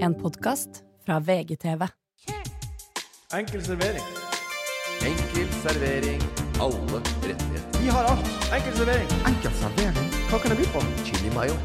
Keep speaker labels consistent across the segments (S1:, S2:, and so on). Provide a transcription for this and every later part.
S1: En podkast fra VGTV.
S2: Enkel servering.
S3: Enkel servering. Alle rettigheter.
S2: Vi har alt. Enkel servering.
S4: Enkel servering,
S2: Hva kan jeg by på?
S3: Chili mayo.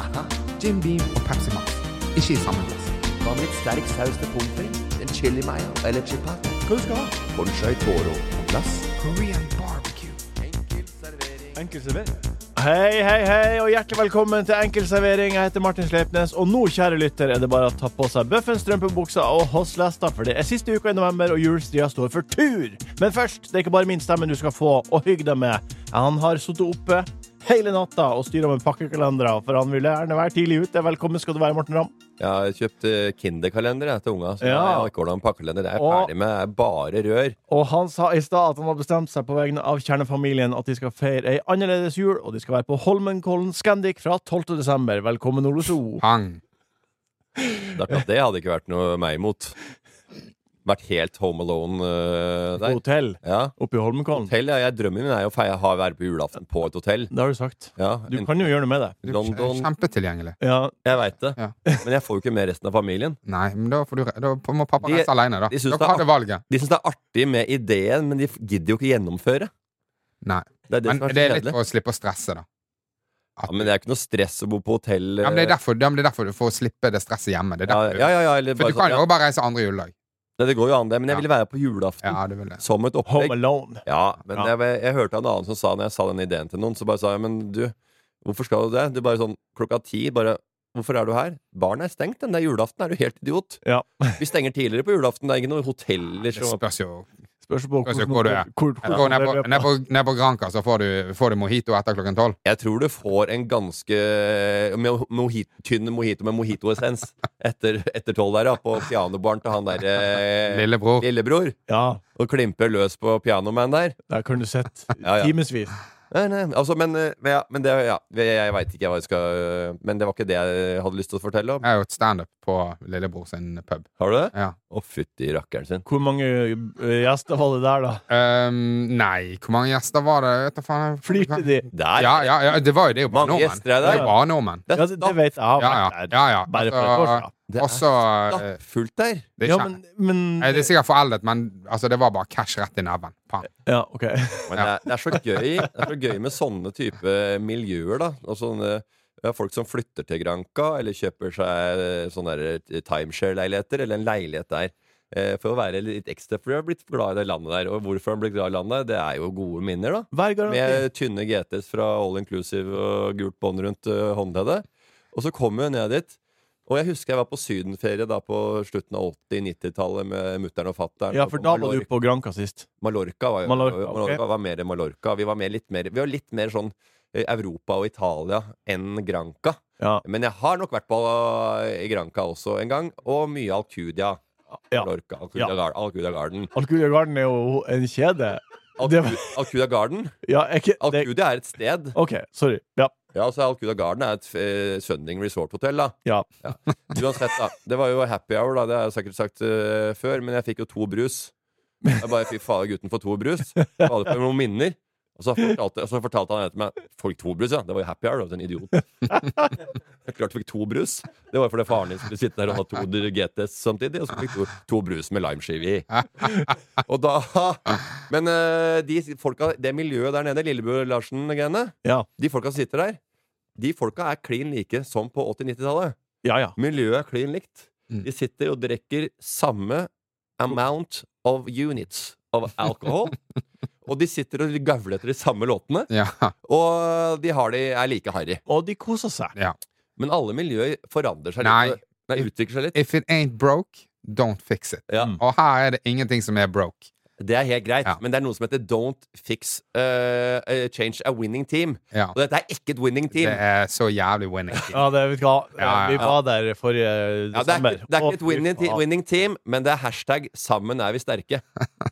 S3: Haha.
S4: Jim Beam og Pepsi Max. Ikke i samme glass.
S3: Hva med litt sterk saus til pommes frites? En chili mayo eller chipat?
S2: Hva du skal ha?
S3: Bonchai toro på glass.
S4: Korean barbecue.
S3: Enkel servering.
S2: Enkel servering. Hei, hei, hei, og hjertelig velkommen til Enkel servering. Jeg heter Martin Sleipnes, og nå, kjære lytter, er det bare å ta på seg bøffen, strømpebuksa og hosslesta, for det er siste uka i november, og julestria står for tur. Men først, det er ikke bare min stemme du skal få, og hygg deg med. Han har sittet oppe hele natta og styra med pakkekalendere, for han ville gjerne være tidlig ute. Velkommen skal du være, Morten Ramm.
S5: Ja, jeg kjøpte Kinderkalender jeg, til unga. Så
S2: Ja.
S5: jeg har ikke ordnet en pakkekalender. Jeg er
S2: Og-
S5: ferdig med jeg er bare rør.
S2: Og han sa i stad at han har bestemt seg på vegne av kjernefamilien at de skal feire ei annerledes jul, og de skal være på Holmenkollen Scandic fra 12. desember. Velkommen, Ole So.
S4: Pang.
S5: Det, er klart, det hadde ikke vært noe meg imot. Vært helt home alone øh,
S2: På
S5: der.
S2: hotell
S5: Ja.
S2: oppe i Holmenkollen.
S5: Hotell, ja. Jeg, drømmen min er jo å feie, ha, være på julaften på et hotell.
S2: Det har du sagt.
S5: Ja,
S2: Du
S5: en,
S2: kan jo gjøre noe med det.
S4: Du er
S5: London
S4: Kjempetilgjengelig.
S2: Ja,
S5: Jeg veit det.
S4: Ja.
S5: Men jeg får jo ikke med resten av familien.
S4: Nei, men da, får du, re- da må pappa
S5: De-
S4: reise alene, da.
S5: de syns det
S4: Dere
S5: er
S4: hadde valget.
S5: De syns det er artig med ideen, men de f- gidder jo ikke gjennomføre.
S4: Nei.
S5: Det er det
S4: Men
S5: som er
S4: det
S5: så
S4: er litt
S5: kjedelig.
S4: for å slippe å stresse, da.
S5: Ja, men det er ikke noe stress å bo på hotell.
S4: Ja, men det
S5: øh,
S4: er derfor, ja, men det er derfor du får slippe det stresset hjemme. Det er
S5: ja,
S4: derfor
S5: ja, ja, ja, eller
S4: du,
S5: bare
S4: for du kan
S5: sånn,
S4: jo
S5: ja.
S4: bare reise andre juledag.
S5: Nei, Det går jo an, det. Men jeg
S4: Ja.
S5: ville være på julaften.
S4: Ja, du vil det.
S5: Som et opplegg.
S2: Home Alone.
S5: Ja, men
S2: Ja.
S5: Jeg, jeg hørte en annen som sa Når jeg sa den ideen til noen, så bare sa jeg Men du, hvorfor skal du det? Du bare sånn klokka ti bare Hvorfor er du her? Baren er stengt, den der julaften. Er du helt idiot?
S2: Ja.
S5: Vi stenger tidligere på julaften. Det er ikke noen hoteller
S4: Det
S5: som
S4: spørs jo.
S2: Spørs på hvordan-
S4: Altså, hvor du er.
S2: Hvor, hvor,
S4: Gå ned på,
S2: hvor,
S4: ned på, ned på Granca, så får du, får du mojito etter klokken tolv.
S5: Jeg tror du får en ganske eh, mo- mojit, tynn mojito med mojitoessens etter, etter tolv der, ja. På pianobaren til han derre Eh,
S4: Lillebror.
S5: lillebror.
S2: ja,
S5: Og klimper løs på pianoman der.
S2: der kan du sett
S5: Ja, ja.
S2: timevis.
S5: Nei, nei, altså, men, eh, men, ja, men det, ja, jeg veit ikke hva jeg skal øh, Men det var ikke det jeg hadde lyst til å fortelle om.
S4: Jeg har gjort standup på lillebror sin pub.
S5: Har du det?
S4: Ja.
S5: Å, fytti rakkeren sin.
S2: Hvor mange eh, gjester var det der, da?
S4: Ehm, nei, hvor mange gjester var det? Jeg Vet da faen.
S2: Flirte de?
S5: Der!
S4: Ja, ja, ja, det var jo det er jo bare
S5: Mange
S4: nordmenn.
S5: gjester er
S4: Det er
S5: der.
S4: jo bare nordmenn.
S2: Ja, det, det vet jeg. jeg. har
S4: Ja, ja.
S2: vært der.
S4: ja, ja.
S2: Bare for et år siden.
S4: Altså,
S5: Det er
S4: Også eh,
S5: stappfullt der.
S4: det, er
S2: Ja,
S4: kjem-
S2: men, men
S4: Nei, det er sikkert foreldet, men altså, det var bare cash rett i neven. Pang.
S2: Ja, OK.
S5: Men det, er, det, er så gøy, det er så gøy med sånne type miljøer, da. Og sånne ja, folk som flytter til Granca, eller kjøper seg eh, sånne der timeshare-leiligheter, eller en leilighet der. Eh, For å være litt ekstra For jeg har blitt glad i det landet der. Og hvorfor han ble glad i landet, det er jo gode minner, da.
S2: Hver garanti.
S5: Med tynne GTs fra All Inclusive og gult bånd rundt eh, håndleddet. Og så kom jeg ned dit. Og jeg husker jeg var på sydenferie da på slutten av 80-90-tallet med mutter'n og fatter'n.
S2: Ja,
S5: Og
S2: for
S5: på
S2: da var du
S5: Mallorca-
S2: på Granca sist.
S5: Mallorca var, jo-
S2: Mallorca,
S5: Mallorca, var mer Mallorca. Vi var, mer, litt mer, vi var litt mer sånn eh, Europa og Italia enn Granca.
S2: Ja.
S5: Men jeg har nok vært på eh, Granca også en gang, og mye Alcudia.
S2: Ja.
S5: Mallorca, Alcudia,
S2: Ja.
S5: Gar- Alcudia Garden.
S2: Alcudia Garden er jo en kjede. Det var-
S5: Alcudia, Alcudia Garden
S2: Ja, er ikke det,
S5: Alcudia er et sted.
S2: OK, sorry. Ja.
S5: Ja, altså Alcuda Garden er et eh, Sunding Resort-hotell, da.
S2: Ja.
S5: Uansett, da. Det var jo happy hour, da. Det har jeg sikkert sagt eh, før, men jeg fikk jo to brus. Jeg bare fy faen, gutten får to brus. Jeg hadde på noen minner. Og så fortalte, og så fortalte han etter meg Folk to brus, ja. Det var jo happy hour. Du er en idiot. Jeg klart fikk to brus. Det var jo fordi faren din skulle sitte der og ha to GTS samtidig. Og så fikk du to brus med limeskive i. Og da Men eh, de folka, det miljøet der nede, Lillebø Larsen-greiene,
S2: Ja.
S5: de folka som sitter der, de folka er klin like som på 80-90-tallet.
S2: Ja, ja.
S5: Miljøet er klin likt.
S4: Mm.
S5: De sitter og drikker samme amount of units of alcohol. og de sitter og gavler etter de samme låtene.
S4: Ja.
S5: Og de har de, er like harry.
S2: Og de koser seg.
S5: Men alle miljøer forandrer seg
S4: Nei.
S5: litt. Nei, utvikler seg litt.
S4: If it ain't broke, don't fix it.
S5: Ja.
S2: Mm.
S4: Og her er det ingenting som er broke.
S5: Det er helt greit,
S4: Ja.
S5: men det er noe som heter don't fix eh, eh, change a winning team.
S4: Ja.
S5: Og dette er ikke et winning
S4: Det
S5: team.
S4: er så jævlig winning.
S2: Ja, det vet du hva.
S4: Ja, ja,
S2: Vi
S4: ja.
S2: var der forrige
S5: Ja, det, er
S2: desember.
S5: ikke, det
S2: Å,
S5: er ikke et
S2: fy
S5: winning, te
S2: faen.
S5: winning team, men det er hashtag 'sammen er vi sterke'.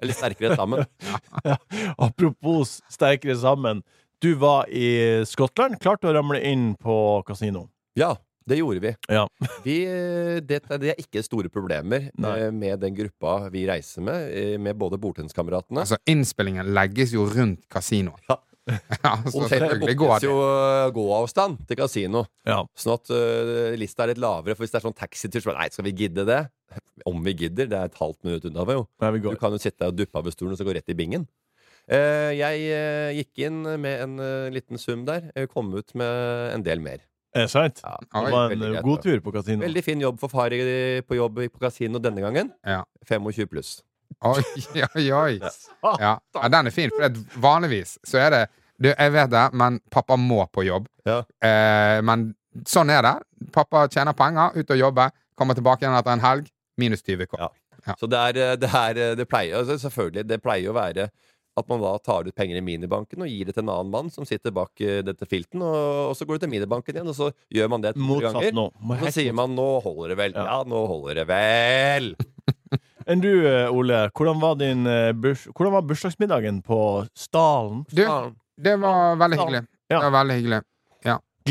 S5: Eller 'sterkere sammen'.
S2: Apropos sterkere sammen. Du var i Skottland. Klarte å ramle inn på kasino.
S5: Ja, det gjorde vi.
S2: Ja.
S5: vi eh, det, det er ikke store problemer
S2: Nei.
S5: eh, med den gruppa vi reiser med, eh, med både bordtennskameratene.
S4: Altså, innspillingen legges jo rundt kasinoet.
S5: Ja.
S4: Ja, så
S5: Hotellet
S4: selvfølgelig går
S5: bookes
S4: det.
S5: jo eh, gåavstand til kasino.
S2: Ja.
S5: Sånn at eh, lista er litt lavere, for hvis det er sånn taxitur, så bare Nei, skal vi gidde det? Om vi gidder. Det er et halvt minutt unna, jo.
S2: Nei, vi
S5: Du
S2: går.
S5: kan jo sitte deg og duppe av ved stolen og så gå rett i bingen. Eh, jeg eh, gikk inn med en eh, liten sum der. eh, kom ut med en del mer.
S2: Er det sant?
S5: Ja,
S4: Oi,
S2: Det var en
S5: veldig
S2: eh,
S5: greit,
S2: god
S5: da.
S2: tur på kasino.
S5: Veldig fin jobb for far i- på jobb på kasino denne gangen.
S4: Ja.
S5: 25 pluss.
S4: Oi, oi, oi. Ja. ja, den er fin. For det, at vanligvis så er det du, Jeg vet det, men pappa må på jobb.
S5: Ja.
S4: Eh, men sånn er det. Pappa tjener penger, ut og jobber, kommer tilbake igjen etter en helg. Minus 20 K.
S5: Ja. Så det er, eh, det, er eh, det pleier altså, selvfølgelig det pleier å være at man da tar ut penger i minibanken og gir det til en annen mann som sitter bak eh, dette filten, og, og så går det til minibanken igjen, og så gjør man det et par
S2: Motsatt
S5: ganger.
S2: nå. Må
S5: Og så
S2: helt
S5: sier man 'nå holder det vel'. Ja, nå holder det vel!
S2: motsatt. Enn du, eh, Ole, hvordan var, din, eh, burs hvordan var bursdagsmiddagen på Stalen?
S4: Du,
S5: Faen.
S4: det var veldig hyggelig.
S2: Ja.
S4: Det var veldig hyggelig.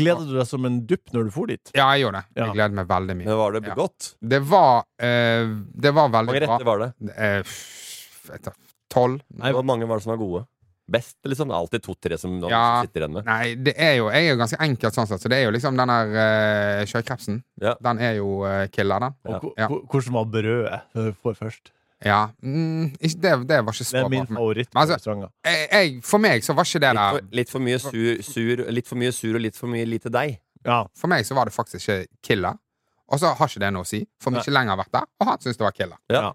S2: Gleder du deg som en dupp når du for dit?
S4: Ja, jeg gjorde det.
S2: Ja.
S4: Jeg gleder meg veldig mye.
S5: Men var det
S4: Ja.
S5: godt?
S4: Det var eh, Det var
S5: Hvor mange
S4: veldig
S5: retter
S4: bra.
S5: var det?
S4: Eh, f- jeg tar Tolv?
S5: Hvor mange var det som var gode? Best? Liksom Det er alltid to-tre som man
S4: Ja.
S5: sitter igjen med.
S4: Nei, det er jo, jeg er jo ganske enkelt sånn sett, så det er jo liksom den der eh, sjøkrepsen.
S5: Ja.
S4: Den er jo eh, killer, den.
S2: Og ko-
S4: Ja.
S2: ko- hvordan var brødet når du får først?
S4: Ja. Mm, ikke, det, det var ikke
S2: Det
S4: så
S2: er
S4: bra
S2: min
S4: for meg.
S2: favoritt på
S4: Men altså-
S2: restauranter.
S4: Jeg, jeg, for meg så var ikke det
S5: Litt
S4: der
S5: for, litt, for mye sur, sur, litt for mye sur og litt for mye lite deig.
S2: Ja.
S4: For meg så var det faktisk ikke killer. Og så har ikke det noe å si, for mye lenger har vært der, og han syns det var killer.
S5: Ja.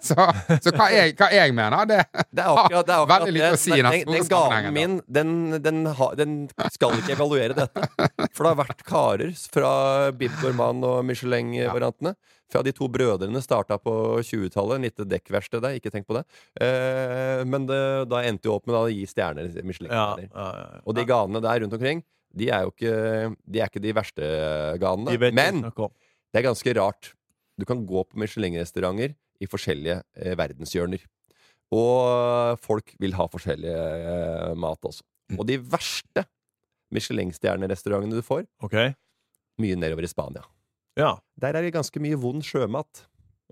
S4: Så, så hva, jeg, hva jeg mener, det
S5: Det er akkurat, det er akkurat
S4: Veldig
S5: det.
S4: lite å si i den
S5: Den, den
S4: store
S5: gaven
S4: sammenhengen,
S5: min, den, den, ha, den skal ikke evaluere dette. For det har vært karer fra Bib Gourmand og Michelin-variantene. Fra de to brødrene starta på 20-tallet. Litt dekkverksted der, ikke tenk på det. Eh, men det, da endte jo opp med da å gi stjerner michelin
S2: Ja,
S5: stjerner
S2: ja, ja.
S5: Og de ganene der rundt omkring, de er jo ikke de, er ikke de verste ganene.
S2: De vet hva vi
S5: Men
S2: snakker om.
S5: det er ganske rart. Du kan gå på Michelin-restauranter i forskjellige eh, verdenshjørner. Og folk vil ha forskjellig eh, mat også. Og de verste Michelin-stjernerestaurantene du får,
S2: OK?
S5: mye nedover i Spania.
S2: Ja.
S5: Der er det ganske mye vond sjømat.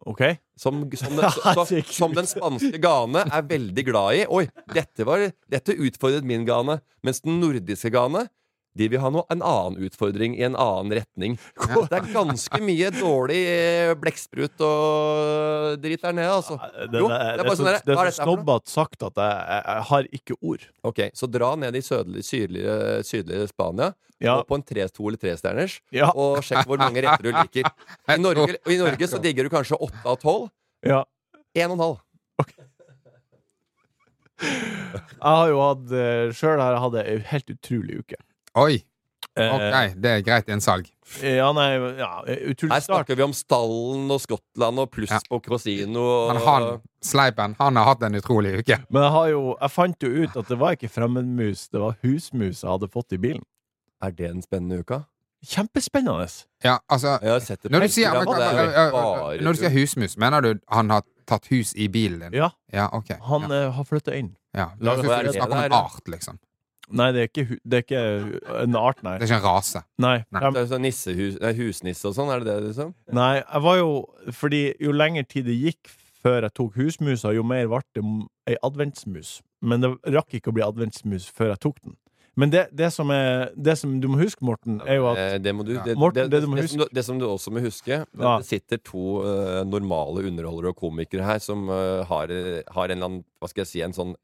S2: OK?
S5: Som, som, den, så, så, som den spanske gane er veldig glad i. Oi, dette, var, dette utfordret min gane. Mens den nordiske gane de vil ha noe, en annen utfordring i en annen retning. Det er ganske mye dårlig eh, blekksprut og dritt der nede, altså.
S2: Det,
S5: Jo,
S2: det,
S5: det er
S2: det
S5: bare
S2: er så,
S5: sånn der,
S2: det
S5: hva er
S2: er så
S5: dette her for noe?
S2: snobbete sagt at jeg, jeg, jeg har ikke ord.
S5: Ok, Så dra ned i sydlige, sydlige, sydlige Spania,
S2: Ja.
S5: og på en tre, to eller trestjerners,
S2: Ja.
S5: og sjekk hvor mange retter du liker. I Norge, I Norge så digger du kanskje åtte av tolv.
S2: ja.
S5: Én og en halv.
S2: Jeg har jo hatt Sjøl har jeg hatt ei helt utrolig uke.
S4: Oi!
S2: Eh,
S4: Ok, det er greit innsalg.
S2: ja, nei, ja, utrolig
S5: Her
S2: start.
S5: snakker vi om Stallen og Skottland og pluss
S4: Ja.
S5: på Crosino
S4: Men
S5: og
S4: han, Sleipen, han har hatt en utrolig uke.
S2: Men jeg, har jo, jeg fant jo ut at det var ikke fremmedmus, det var husmus jeg hadde fått i bilen.
S5: Er det en spennende uke?
S2: Kjempespennende!
S4: Ja, altså
S5: Jeg har sett det på
S4: Når du sier,
S5: Instagram, og det er
S4: men- men-
S5: bare-
S4: når du sier husmus, mener du han har tatt hus i bilen din?
S2: Ja,
S4: Ja, ok.
S2: han
S4: ja.
S2: eh, har flytta inn.
S4: Ja.
S2: la
S4: Det
S2: oss
S4: høres ut som
S5: være
S4: du snakker om
S5: det
S4: en
S5: der, ja.
S4: art, liksom.
S2: Nei, det er ikke, hu- det er ikke en art, nei.
S4: Det er ikke en rase.
S2: Nei,
S4: Nei.
S2: jeg,
S5: det er sånn nissehus, nei, husnisse og sånn, er det det, liksom?
S2: nei, jeg var jo Fordi jo lengre tid det gikk før jeg tok husmusa, jo mer ble det m- ei adventsmus. Men det rakk ikke å bli adventsmus før jeg tok den. Men det, det, som, er, det som du må huske, Morten, er jo at
S5: Eh, Det, må du,
S4: Ja.
S5: det,
S2: Morten,
S5: det,
S2: det
S5: det,
S2: du må
S5: som du, det som du også må huske Det
S2: Ja.
S5: det sitter to eh, normale underholdere og komikere her som eh, har, eh, har en eller annen Hva skal jeg si, en sånn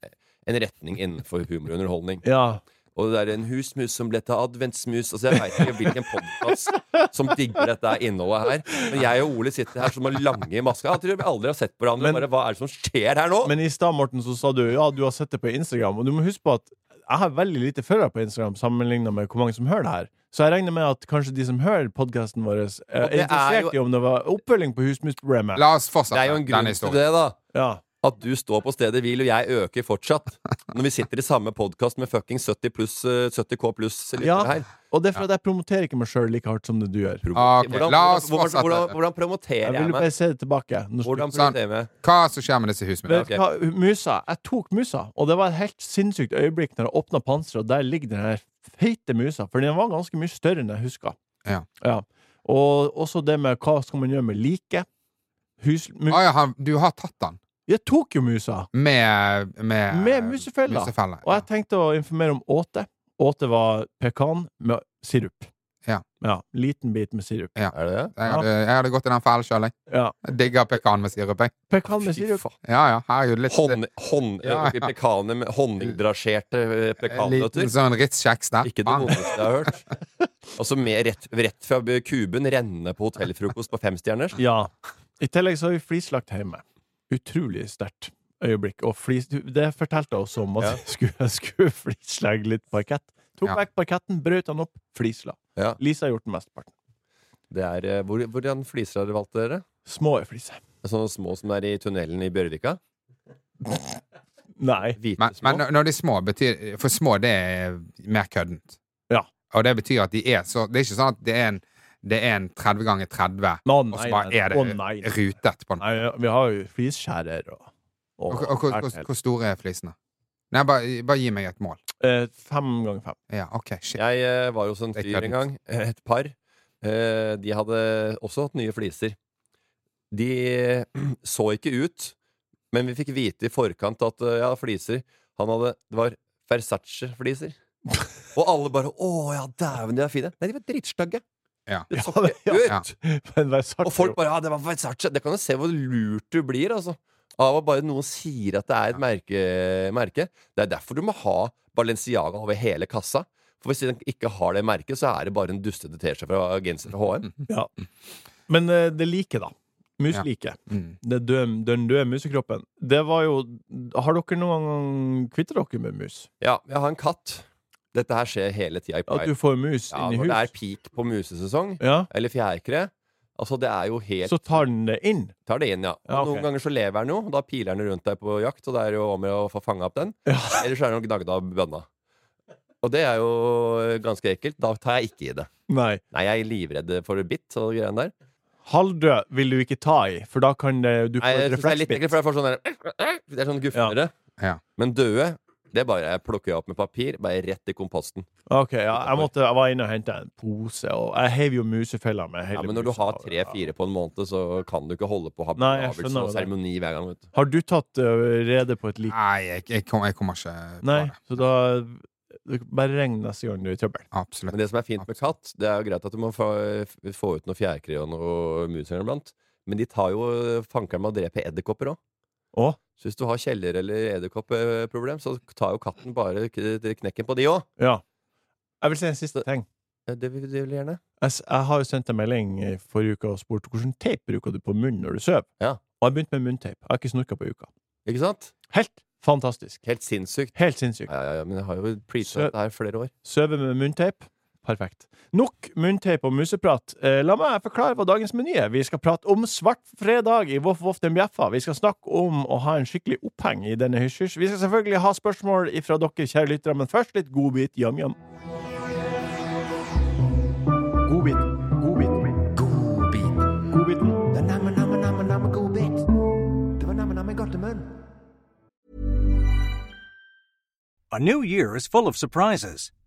S5: en retning innenfor humor og
S4: Eh.
S5: underholdning.
S2: Ja,
S5: Og det er en husmus som ble til adventsmus. Altså Jeg veit ikke hvilken podkast som digger dette innholdet her. Men jeg og Ole sitter her som er lange i maska. Jeg tror vi aldri har sett på hverandre.
S2: Men-
S5: bare, hva er det som skjer her nå?
S2: Men i stad, Morten, så sa du ja, du har sett det på Instagram. Og du må huske på at jeg har veldig lite følgere på Instagram sammenligna med hvor mange som hører det her. Så jeg regner med at kanskje de som hører podkasten vår, er
S5: det er
S2: interessert
S5: jo-
S2: i om det var oppfølging på husmusproblemet.
S4: La oss
S5: det
S4: fortsette
S5: er jo en grunn
S4: denne
S5: til
S4: historien.
S5: det, da.
S2: Ja.
S5: At du står på stedet hvil, og jeg øker fortsatt. Når vi sitter i samme podkast med fucking 70 pluss, eh, 70K pluss lyttere
S2: Ja.
S5: her.
S2: Og det er for at jeg promoterer ikke meg sjøl like hardt som det du gjør.
S4: Ok,
S5: Hvordan,
S4: la
S5: hvordan,
S4: oss
S5: hvordan,
S4: fortsette.
S5: hvordan, hvordan promoterer
S2: Jeg
S5: jeg
S2: vil jo
S5: meg?
S2: bare se det tilbake. Nå slutter-
S5: Hvordan
S4: Sånn.
S5: promoterer jeg meg?
S4: Hva som skjer med disse husmusene?
S2: Vet du hva, musa, Jeg tok musa, og det var et helt sinnssykt øyeblikk når jeg åpna panseret, og der ligger den her feite musa. For den var ganske mye større enn jeg huska.
S4: Ja.
S2: Og også det med hva skal man gjøre med liket. Husmus
S4: Å ja, han, du har tatt den?
S2: Jeg tok jo musa.
S4: Med, med,
S2: Med musefella.
S4: musefella.
S2: Og jeg tenkte å informere om åte. Åte var pekan med sirup.
S4: Ja.
S2: Liten bit med sirup.
S5: Er det det?
S4: Jeg hadde, jeg hadde gått i den fellen sjøl, jeg.
S2: Ja.
S4: jeg. Digger pekan med sirup, jeg.
S2: Pekan med
S5: Fy
S2: sirup.
S5: faen.
S4: Ja ja, herregud. Litt eh,
S5: Hånd, hånd,
S4: Ja,
S5: oppi pekaner med Honningdrasjerte eh,
S4: en
S5: pekannøtter.
S4: liten sånn Ritz-kjeks der.
S5: Ikke det
S4: Bang.
S5: vondeste jeg har hørt. Altså med rett, rett fra kuben renne på hotellfrokost på femstjerners.
S2: Ja. I tillegg så har vi flislagt hjemme. Utrolig sterkt øyeblikk. Og flis, det fortalte jeg også om at
S5: Ja.
S2: jeg skulle, jeg skulle flislegge litt parkett. Tok
S4: Ja.
S2: vekk parketten, brøt den opp, flisla.
S5: Ja.
S2: Lisa har gjort den mesteparten.
S5: Det er, eh, hvor, hvordan fliser har dere valgt dere?
S2: Små fliser.
S5: Sånne små som er i tunnelen i Bjørvika?
S2: Nei.
S5: Hvite
S4: Men,
S5: små?
S4: men når de er små, betyr For små, det er mer køddent.
S2: Ja.
S4: Og det betyr at de er så Det er ikke sånn at det er en, det er en 30 ganger 30,
S2: Nå,
S4: og
S2: nei,
S4: så bare
S2: nei.
S4: er
S2: Å, nei, nei.
S4: det rutet på den.
S2: Nei, vi har jo flisskjærer og, og,
S4: Og, og, hvor- hvor, hvor store er flisene? Nei, bare, bare gi meg et mål.
S2: Eh, Fem ganger fem.
S4: Ja, OK, shit.
S5: Jeg eh, var hos en
S4: Det er
S5: fyr
S4: køddent.
S5: en gang. Et par. Eh, de hadde også hatt nye fliser. De så ikke ut, men vi fikk vite i forkant at eh, ja, fliser Han hadde Det var Versace-fliser. Og alle bare 'Å ja, dæven, de er fine'. Nei, de var drittstygge.
S4: Ja.
S5: Det så
S2: Ja,
S5: ikke
S2: det-
S5: ut!
S4: ja.
S2: Men det er sagt,
S5: Og folk bare ja, det var Versace. Det kan jo se hvor lurt du blir, altså. Av at bare noen sier at det er et merke, merke. Det er derfor du må ha Balenciaga over hele kassa. For hvis den ikke har det merket, så er det bare en dustete T-skjorte fra genser fra HM.
S2: Ja. Men eh, det liket, da. Musliket.
S4: Mm.
S2: Det døde- Den døde musekroppen. Det var jo Har dere noen gang kvittet dere med mus?
S5: Ja, jeg har en katt. Dette her skjer hele tida i
S2: At
S5: Pride.
S2: du får mus
S5: Ja,
S2: inn i
S5: når det er
S2: hus?
S5: peak på musesesong,
S2: Ja,
S5: eller fjærkre Altså, det er jo helt
S2: så tar den det inn.
S5: Tar det inn, ja. Og
S2: Ja, ok.
S5: Noen ganger så lever den jo, og da piler den rundt deg på jakt, og det er jo om å gjøre å få fanga opp den.
S2: Ja.
S5: Ellers så er den jo gnagd av bønna. Og det er jo ganske ekkelt. Da tar jeg ikke i det.
S2: Nei.
S5: Nei, jeg er livredd for bitt og greiene der.
S2: Halvdød vil du ikke ta i, for da kan det, du
S5: Nei,
S2: få
S5: jeg
S2: et
S5: synes det er litt
S2: refleksbitt.
S5: ekkelt, for jeg får sånn der Det er sånn gufnere.
S4: Ja.
S5: Men døde, det bare jeg plukker jeg opp med papir, bare rett i komposten.
S2: Ok, ja, jeg, måtte, jeg var inne og henta en pose, og jeg heiv jo musefeller med hele
S5: Ja, men når du har
S2: musehavet, ja.
S5: tre-fire på en måned, så kan du ikke holde på å ha
S2: Nei, jeg
S5: begravelse
S2: skjønner det.
S5: og sånn seremoni hver gang. Vet du.
S2: Har du tatt ø, rede på et lik?
S4: Nei, jeg, jeg, kom, jeg kommer ikke på
S2: Nei,
S4: det.
S2: så da Bare regn neste gang du er i trøbbel.
S4: Absolutt.
S5: Men det som er fint med katt, det er jo greit at du må få, få ut noe fjærkre og noe mus iblant, men de tar jo fankeren med å drepe edderkopper òg.
S2: Å?
S5: Så hvis du har kjeller- eller edderkoppproblem, så tar jo katten bare k- knekken på de òg.
S2: Ja. Jeg vil si en siste ting.
S5: Det vil de vel gjerne.
S2: Jeg, s- jeg har jo sendt en melding i forrige uke og spurt hvordan teip bruker du på munnen når du sover.
S5: Ja.
S2: Og jeg begynte med munnteip. Jeg har ikke snorka på uka.
S5: Ikke sant?
S2: Helt fantastisk.
S5: Helt sinnssykt.
S2: Helt sinnssykt.
S5: Ja, ja, ja, men jeg har jo
S2: Så-
S5: preacha dette her flere år.
S2: Søve med munnteip. Perfekt. Nok munnteip og museprat. Eh, la meg forklare hva dagens meny er. Vi skal prate om svart fredag i Voff Voff den bjeffa. Vi skal snakke om å ha en skikkelig oppheng i denne hysj-hysj. Vi skal selvfølgelig ha spørsmål fra dere, kjære lyttere, men først litt godbit jam-jam. Godbit. Godbit.
S3: Godbit.
S2: Godbiten.
S3: Det er namme, namme, namme, namme godbit. Det var namme, namme godt i munnen.
S6: A new year is full of surprises,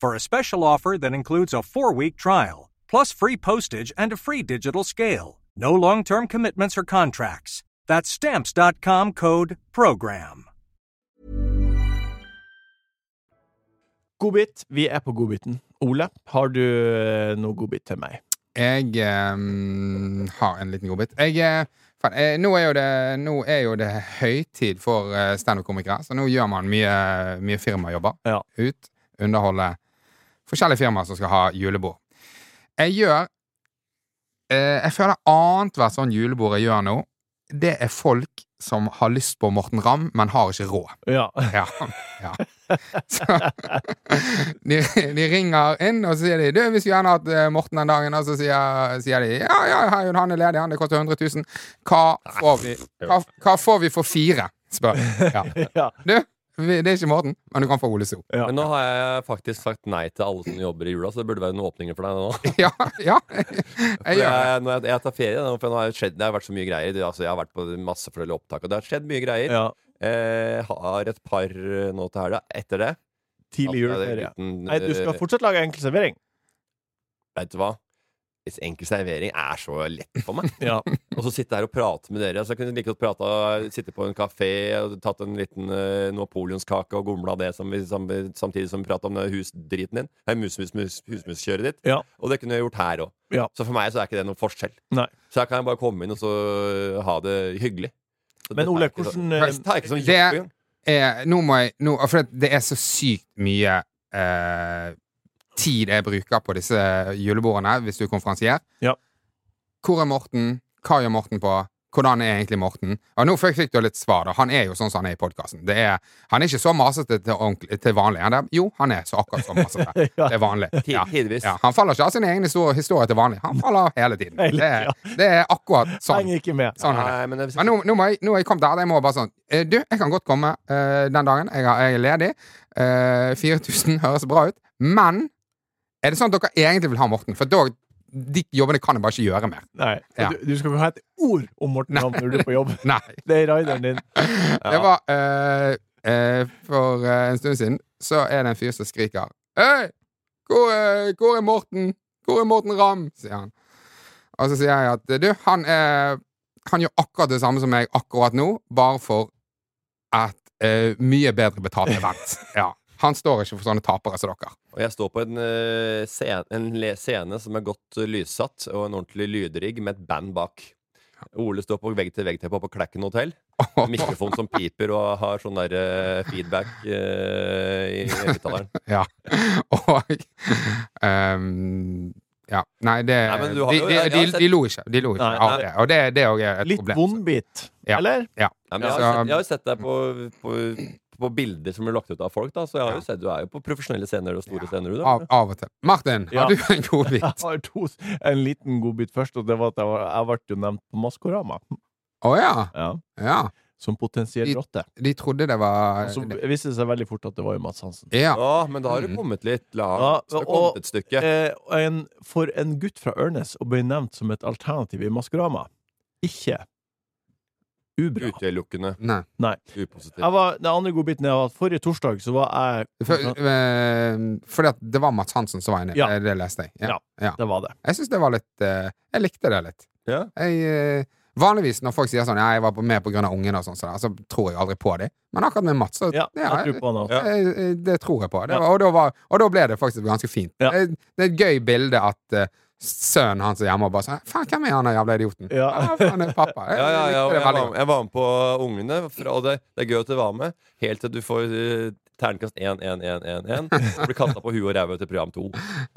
S6: for a special offer that includes a four week trial, plus free postage and a free digital scale. No long term commitments or contracts. That's Stamps.com code PROGRAM.
S2: Godbit. Vi er på godbiten. Ole, har du eh, noe godbit til meg?
S4: Jeg ehm, har en liten godbit. Jeg, eh, faen, eh, nå, er jo det, nå er jo det høytid for eh, standup-komikere, så nå gjør man mye, mye firmajobber
S2: Ja.
S4: ut. Underholde forskjellige firmaer som skal ha julebord. Jeg gjør eh, Jeg føler annethvert sånn julebord jeg gjør nå, det er folk som har lyst på Morten Ramm, men har ikke råd.
S2: Ja.
S4: Ja. ja. Så de, de ringer inn, og så sier de 'Du, vi skulle gjerne hatt eh, Morten den dagen.' Og så sier, sier de 'Ja, ja, herregud, han er ledig, han. Det koster 100 000.' Hva får vi, hva, hva får vi for fire? spør de. Ja.
S2: ja.
S4: Du, vi, det er ikke Morten, men du kan få Ole So.
S2: Ja.
S5: Men nå har jeg faktisk sagt nei til alle som jobber i jula, så det burde være noen åpninger for deg nå.
S4: Ja, ja. Jeg
S5: For
S4: gjør det.
S5: Jeg, når jeg, jeg tar ferie, nå, for nå har det skjedd, det har vært så mye greier. Det, altså, jeg har vært på masse forskjellige opptak, og det har skjedd mye greier.
S2: ja.
S5: Eh, har et par eh, nå til helga etter det.
S2: Tidlig
S5: At jeg er
S2: juleferie.
S5: uten,
S2: Nei, du skal
S5: eh,
S2: fortsatt lage enkel servering.
S5: Vet du hva? Hvis enkel servering er så lett for meg.
S2: Ja.
S5: Og så sitte her og prate med dere. Altså, jeg kunne like godt prata, sitte på en kafé og tatt en liten uh, napoleonskake og gomla det som vi, sam, samtidig som vi prata om det husdriten din. Nei, mus, mus, mus, husmuskjøret ditt.
S2: Ja.
S5: Og det kunne jeg gjort her òg.
S2: Ja.
S5: Så for meg så er ikke det noen forskjell.
S2: Nei.
S5: Så her kan jeg bare komme inn og så ha det hyggelig. Så
S2: Men
S5: dette er
S2: Ole,
S5: ikke så-
S2: hvordan eh,
S5: Det er ikke sånn
S4: Det-
S5: jobb engang.
S4: Eh, nå må jeg nå, For det er så sykt mye eh, tid jeg bruker på disse julebordene, hvis du er konferansier.
S2: Ja.
S4: Hvor er Morten? Hva gjør Morten på? Hvordan er egentlig Morten? Og nå fikk, fikk du litt svar. da Han er jo sånn som han er i podkasten. Han er ikke så masete til, ordentlig- til vanlig. Han er, jo, han er så akkurat så masete.
S2: Ja.
S4: Det er vanlig.
S5: Tid-
S4: Ja.
S5: Tidvis.
S4: Ja, han faller ikke av sin egen historie, historie til vanlig. Han faller av hele tiden.
S2: Hele
S4: Det er, det er akkurat sånn.
S2: Henger ikke med.
S4: sånn han er.
S5: Nei, men det,
S4: Men nå, nå, må jeg, nå er jeg kommet der. Jeg må bare sånn eh, Du, jeg kan godt komme eh, den dagen. Jeg, har, jeg er ledig. Eh, 4000 høres bra ut. Men er det sånn at dere egentlig vil ha Morten? For da, de jobbene kan jeg bare ikke gjøre mer.
S2: Nei.
S4: Ja.
S2: Du, du skal ikke ha et ord om Morten Ramm når du er på jobb.
S4: Nei.
S2: Det er rideren din.
S4: Det var eh, eh, For eh, en stund siden så er det en fyr som skriker Hei! Hvor, er- hvor er Morten? Hvor er Morten Ramm? sier han. Og så sier jeg at du, han, er, han gjør akkurat det samme som meg akkurat nå, bare for et eh, mye bedre betalt event. Ja. Han står ikke for sånne tapere som dere.
S5: Og jeg står på en, eh, scene, en le- scene som er godt eh, lyssatt, og en ordentlig lydrigg med et band bak. Ole står på vegg-til-vegg-teppe på Klekken hotell. Med mikrofon som piper, og har sånn der eh, feedback eh, i høyttaleren.
S4: Ja. Og ehm, Ja. Nei, det
S5: Nei, men du har
S4: de,
S5: jo-
S4: de,
S5: jeg- jeg
S4: de,
S5: har sett-
S4: de lo ikke. De lo ikke
S2: Nei,
S4: av
S5: nei.
S4: det. Og det, det er også et
S2: Litt
S4: problem.
S2: vondbit,
S4: Ja.
S2: eller?
S5: Nei, men jeg, har jo
S4: Ja, så-
S5: sett, jeg har jo sett deg på, på, på bilder som blir lagt ut av folk, da, så jeg har jo sett, du er jo på profesjonelle scener og store
S4: Ja. Ah,
S5: scener. Du, da.
S4: Av, av og til. Martin,
S2: Ja.
S4: har du en
S2: Jeg
S4: god bit?
S2: har to, en liten godbit først, og det var at jeg, var, jeg ble jo nevnt på Maskorama.
S4: Å ja.
S2: Ja.
S4: ja.
S2: Som potensiell
S4: I-
S2: rotte.
S4: De trodde det var
S2: Så viste det seg veldig fort at det var jo Mads Hansen.
S4: Ja.
S5: Ja, men da har
S4: Mm.
S5: du kommet litt
S2: Ja,
S5: langt. Du har
S2: og-
S5: kommet et stykke.
S2: Eh, og en, for en gutt fra Ørnes å bli nevnt som et alternativ i Maskorama, ikke ubra.
S5: Utelukkende
S4: Nei.
S5: upositivt.
S2: Jeg var, den andre godbiten er at forrige torsdag så var jeg
S4: For, eh, fordi at det var Mats Hansen som var inne. Eh,
S2: Ja.
S4: Det, det leste jeg. Ja.
S2: Ja. Det var det.
S4: Jeg syns det var litt eh, Jeg likte det litt.
S5: Ja.
S4: Jeg, eh, vanligvis når folk sier sånn Ja, jeg var på- med på grunn av ungene og sånn, så, der, så tror jeg aldri på dem. Men akkurat med Mats, så
S2: Ja, jeg tror på han også.
S5: Ja.
S4: Jeg- jeg- Eh, Det tror jeg på. Det var, og, da var, og da ble det faktisk ganske fint.
S2: Ja.
S4: Det, det er et gøy bilde at eh, sønnen hans er hjemme og bare sånn Faen, hvem er han der jævla idioten?
S2: Ja.
S4: «Ah, faen, det er pappa. Jeg,
S5: Ja, ja, ja, og
S4: likte det
S5: jeg,
S4: veldig
S5: var,
S4: godt.
S5: jeg var med på Ungene, fra- og det, det er gøy at du var med, helt til du får eh, terningkast 1, 1, 1, 1, 1, og blir kasta på huet og ræva til program 2.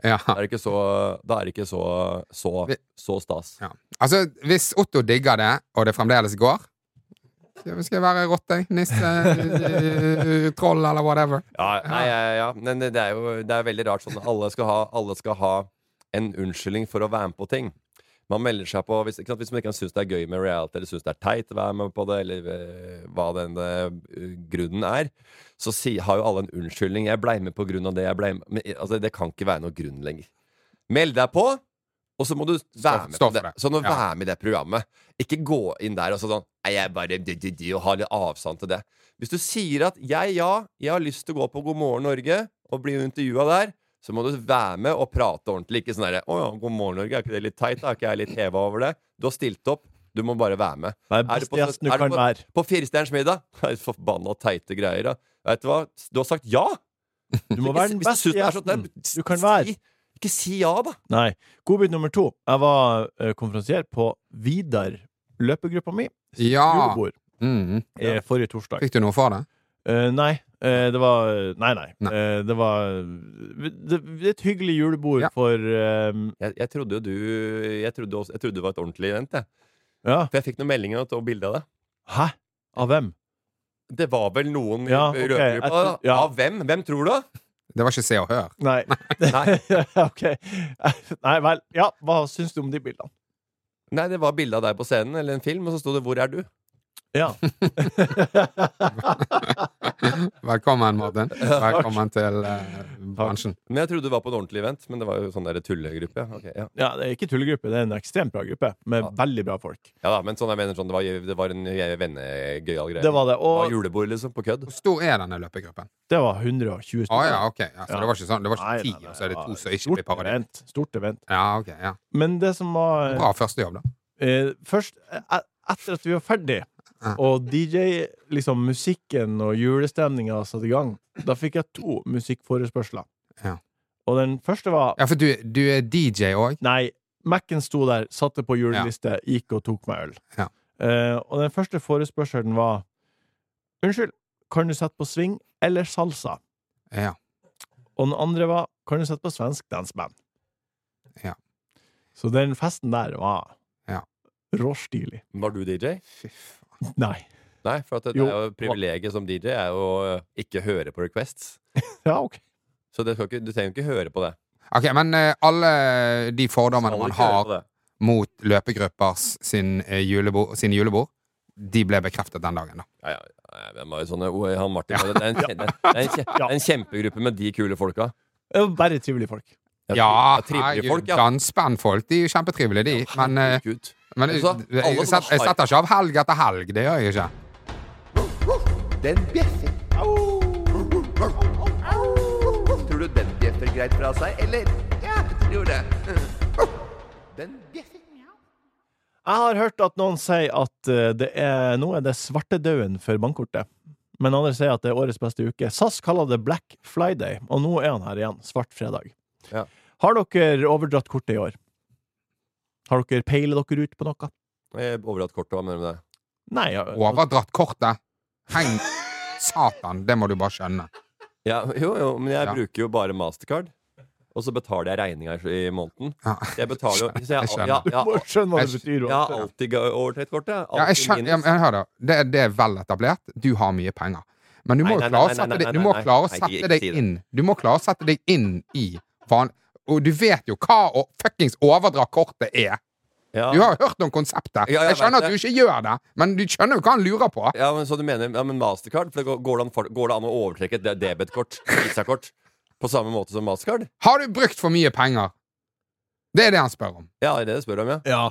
S4: Ja.
S5: Da er det ikke så, da er det ikke så, så, så stas.
S4: Ja. Altså, hvis Otto digger det, og det fremdeles går skal skal jeg være rotte, nisse, øh, øh, troll eller whatever?
S5: Ja, nei, ja, ja. Men det er jo det er veldig rart sånn at alle skal ha, alle skal ha en unnskyldning for å være med på ting. Man melder seg på hvis, ikke sant, hvis man ikke syns det er gøy med reality, eller syns det er teit å være med på det, eller eh, hva den eh, grunnen er, så si, har jo alle en unnskyldning. 'Jeg blei med på grunn av det.' Jeg ble med. Men, eh, altså, det kan ikke være noe grunn lenger. Meld deg på, og så må du være med
S4: stå
S5: på
S4: for
S5: det.
S4: det.
S5: Så nå
S4: Ja.
S5: være med i det programmet. Ikke gå inn der og så sånn Nei, jeg bare de, de, de, og ha litt avstand til det. Hvis du sier at jeg, ja, jeg har lyst til å gå på God morgen Norge og bli intervjua der, så må du være med og prate ordentlig. Ikke sånn derre Å ja, God morgen Norge, er ikke det litt teit? da? Er ikke jeg litt heva over det? Du har stilt opp. Du må bare være med.
S2: Det er
S5: Er du
S2: beste
S5: på-
S2: gjesten du
S5: er du
S2: kan
S5: på-
S2: være.
S5: På Firestjerners middag Nei, Forbanna teite greier, da. Vet du hva? Du har sagt ja!
S2: Du må være den
S5: Hvis du
S2: beste
S5: synes det er så-
S2: gjesten
S5: Nei,
S2: du kan være.
S5: Si, ikke si ja, da.
S2: Nei. Godbit nummer to. Jeg var eh, konferansier på Vidar, løpegruppa mi,
S4: Ja.
S5: Ah.
S2: julebord,
S4: Mm.
S2: eh, forrige torsdag.
S4: Fikk du noe for det?
S2: Eh, nei, Eh, det var Nei, nei.
S4: Nei.
S2: Eh, det var det, det er Et hyggelig julebord
S4: Ja.
S2: for eh,
S5: Jeg, jeg trodde jo du jeg trodde, også, jeg trodde det var et ordentlig event, jeg.
S2: Ja.
S5: For jeg fikk noen meldinger og et bilde av det.
S2: Hæ? Av hvem?
S5: Det var vel noen
S2: Ja,
S5: i
S2: ok,
S5: røvergruppa?
S2: jeg tror-
S5: da.
S2: ja.
S5: Av hvem? Hvem tror du?
S4: Det var ikke Se og Hør.
S2: Nei.
S5: Nei.
S2: ok. Nei vel. Ja, hva syns du om de bildene?
S5: Nei, det var bilde av deg på scenen eller en film, og så sto det 'Hvor er du?'
S2: Ja.
S4: Velkommen, Martin. Velkommen til eh, bransjen.
S5: Men jeg trodde det var på et ordentlig event, men det var jo sånn der tullegruppe. ja. Ok, ja.
S2: ja, det er ikke tullegruppe. Det er en ekstremt bra gruppe med
S5: Ja.
S2: veldig bra folk.
S5: ja da, men sånn jeg mener sånn, det var, det var en vennegøyal greie.
S2: Det var det.
S5: Det var
S2: Og
S5: julebord, liksom, på kødd.
S4: Hvor stor er denne løpegruppen?
S2: det var 120
S4: Å ja, ok. Ja, så
S2: Ja.
S4: det var ikke sånn Det var
S2: Nei,
S4: ikke ti,
S2: nei, nei,
S4: og så er det
S2: ja,
S4: to som ikke
S2: stort
S4: blir parodi?
S2: event. Stort event.
S4: Ja, ok, ja.
S2: Men det som var
S4: Bra første jobb, da.
S2: eh, Først, eh, etter at vi var ferdig
S4: Ja.
S2: og DJ, liksom musikken og julestemninga satte i gang, da fikk jeg to musikkforespørsler.
S4: Ja.
S2: Og den første var
S4: Ja, for du, du er DJ òg?
S2: Nei, Mac-en sto der, satte på juleliste, gikk og tok meg øl.
S4: Ja.
S2: Eh, og den første forespørselen var Unnskyld, kan du sette på swing eller salsa?
S4: Ja.
S2: Og den andre var Kan du sette på svensk danseband?
S4: Ja.
S2: Så den festen der var
S4: Ja.
S2: råstilig.
S5: Var du DJ?
S4: Fy faen.
S2: Nei.
S5: Nei, for at det,
S2: Jo.
S5: det er jo privilegiet som DJ er jo å ikke høre på requests.
S2: Ja, ok.
S5: Så det skal ikke, du trenger ikke høre på det.
S4: Ok, men eh, alle de fordommene
S5: Skal
S4: man
S5: ikke høre
S4: har
S5: på det.
S4: mot løpegruppers sin, eh, julebord, sine julebord, de ble bekreftet den dagen, da.
S5: Ja, ja, ja, hvem sånn, var jo sånne Oi, eh, han Martin var det. Det er en, kje- det er en, kje- det er en kjempegruppe med de kule folka.
S2: Det var bare trivelige folk.
S5: Ja,
S4: Ja,
S5: tri- ja, trivelige folk, ja.
S4: dansbandfolk, de er jo kjempetrivelige, de. Men, eh,
S5: Herregud.
S4: men jeg,
S5: Altså, alle
S4: jeg,
S5: som
S4: set- jeg
S5: har-
S4: setter ikke av helg etter helg, det gjør jeg ikke.
S3: Den bjeffer. Tror du den bjeffer greit fra seg, eller? Ja, jeg tror det. Den bjeffer.
S2: Jeg har hørt at noen sier at eh, det er, nå er det svartedauden for bankkortet. Men andre sier at det er årets beste uke. SAS kaller det Black Friday, og nå er han her igjen. Svart fredag.
S5: Ja.
S2: Har dere overdratt kortet i år? Har dere peilet dere ut på noe?
S5: Jeg Overdratt kortet, hva mener du med det?
S2: Nei. ja,
S4: Overdratt kortet. Heng Satan, det må du bare skjønne.
S5: Ja, jo, jo, men jeg
S4: Ja.
S5: bruker jo bare Mastercard. Og så betaler jeg regninga i i måneden.
S4: Ja.
S5: Jeg betaler jo så jeg,
S4: Jeg skjønner.
S5: jeg, jeg,
S2: Du må
S5: jeg,
S2: skjønne hva det
S4: Jeg-
S2: betyr.
S5: har alltid ga- overtrekt kortet. jeg.
S4: Ja, jeg
S5: Alltid
S4: skjønner, ja,
S5: minus.
S4: men hør da. Det, det er vel etablert. Du har mye penger. Men du må
S5: Nei,
S4: jo
S5: nei,
S4: klare å
S5: nei, nei,
S4: sette deg,
S5: nei,
S4: du må
S5: nei, nei.
S4: klare å
S5: Nei, ikke-
S4: sette
S5: ikke
S4: deg
S5: si det.
S4: inn Du må klare å sette deg inn i van... Og du vet jo hva å fuckings overdra kortet er.
S5: Ja.
S4: Du har jo hørt om konseptet.
S5: Ja, jeg
S4: Jeg skjønner
S5: vet
S4: at du ikke gjør det, men du skjønner jo hva han lurer på.
S5: Ja, men Så du mener ja, men Mastercard? For det går, går, det an, for- går det an å overtrekke et de- debetkort? Visakort? På samme måte som Mastercard?
S4: Har du brukt for mye penger? Det er det han spør om.
S5: Ja, det er det jeg spør om, ja.
S2: Ja.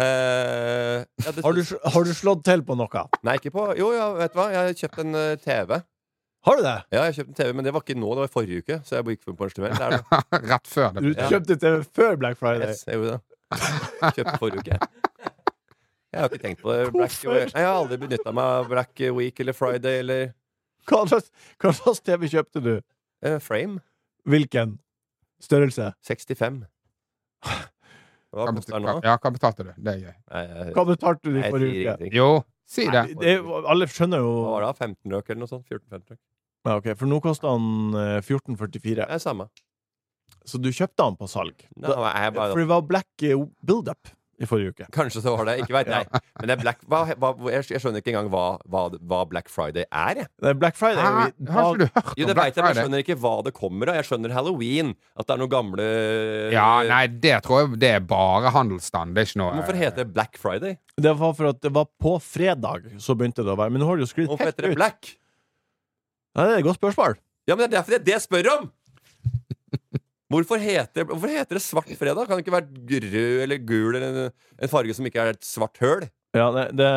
S5: Eh, ja det,
S2: Har, du, sl- har du slått til på noe?
S5: Nei, ikke på Jo, ja, vet du hva? Jeg har kjøpt en eh, TV.
S2: Har du det?
S5: Ja, jeg har kjøpt en TV, Men det var ikke nå, det var i forrige uke. Så jeg gikk på en pensjonell. Det er det.
S4: Rett før det.
S2: Du
S5: Ja.
S2: kjøpte TV før Black Friday.
S5: Yes, jeg gjorde det. Kjøpte forrige uke. Jeg har ikke tenkt på det. Black,
S2: Hvorfor?
S5: Nei, jeg har aldri benytta meg av Black Week eller Friday eller
S2: Hva slags, hva slags TV kjøpte du?
S5: eh, Frame.
S2: Hvilken? Størrelse?
S5: 65. Hva
S4: Hva
S5: koster den nå?
S4: betalte, ja, hva betalte du? Det er gøy.
S5: Nei, jeg-
S2: Hva betalte du i
S5: jeg sier
S2: forrige uke?
S5: ingenting.
S4: Jo, si det.
S2: Det, er jo- alle skjønner
S5: Hva
S2: jo
S5: var det? 15 løk eller noe sånt? 14-15 løk.
S2: ja, ok, For nå koster han eh, 14,44.
S5: Det er samme.
S2: Så du kjøpte han på salg.
S5: Nei,
S2: Da,
S5: jeg
S2: for
S5: bare,
S2: det var black eh, build-up i forrige uke.
S5: kanskje så var det. Ikke veit jeg. Men det er Black, hva, hva, jeg jeg skjønner ikke engang hva, hva, hva Black Friday er. jeg.
S2: Det er Black Friday.
S4: Hæ?
S2: er
S4: Har
S2: jo i dag,
S4: ikke du hørt
S5: Jo,
S4: om
S5: det
S4: Black
S5: vet jeg, men jeg
S4: Friday?
S5: skjønner ikke hva det kommer av. Jeg skjønner halloween. At det er noen gamle
S4: Ja, nei, det tror jeg det er bare handelsstand. Det er ikke noe
S5: Eh,
S4: eh,
S5: Hvorfor heter det Black Friday?
S2: det var for at det var på fredag så begynte det å være. Men nå har det jo sklidd
S5: Hvorfor
S2: helt
S5: heter det
S2: ut.
S5: Black?
S2: Nei, det er et godt spørsmål.
S5: Ja, men Det er derfor det er det jeg spør om! Hvorfor heter, hvorfor heter det svart fredag? Kan det ikke være rød eller gul eller en, en farge som ikke er et svart høl?
S2: Ja, det, det,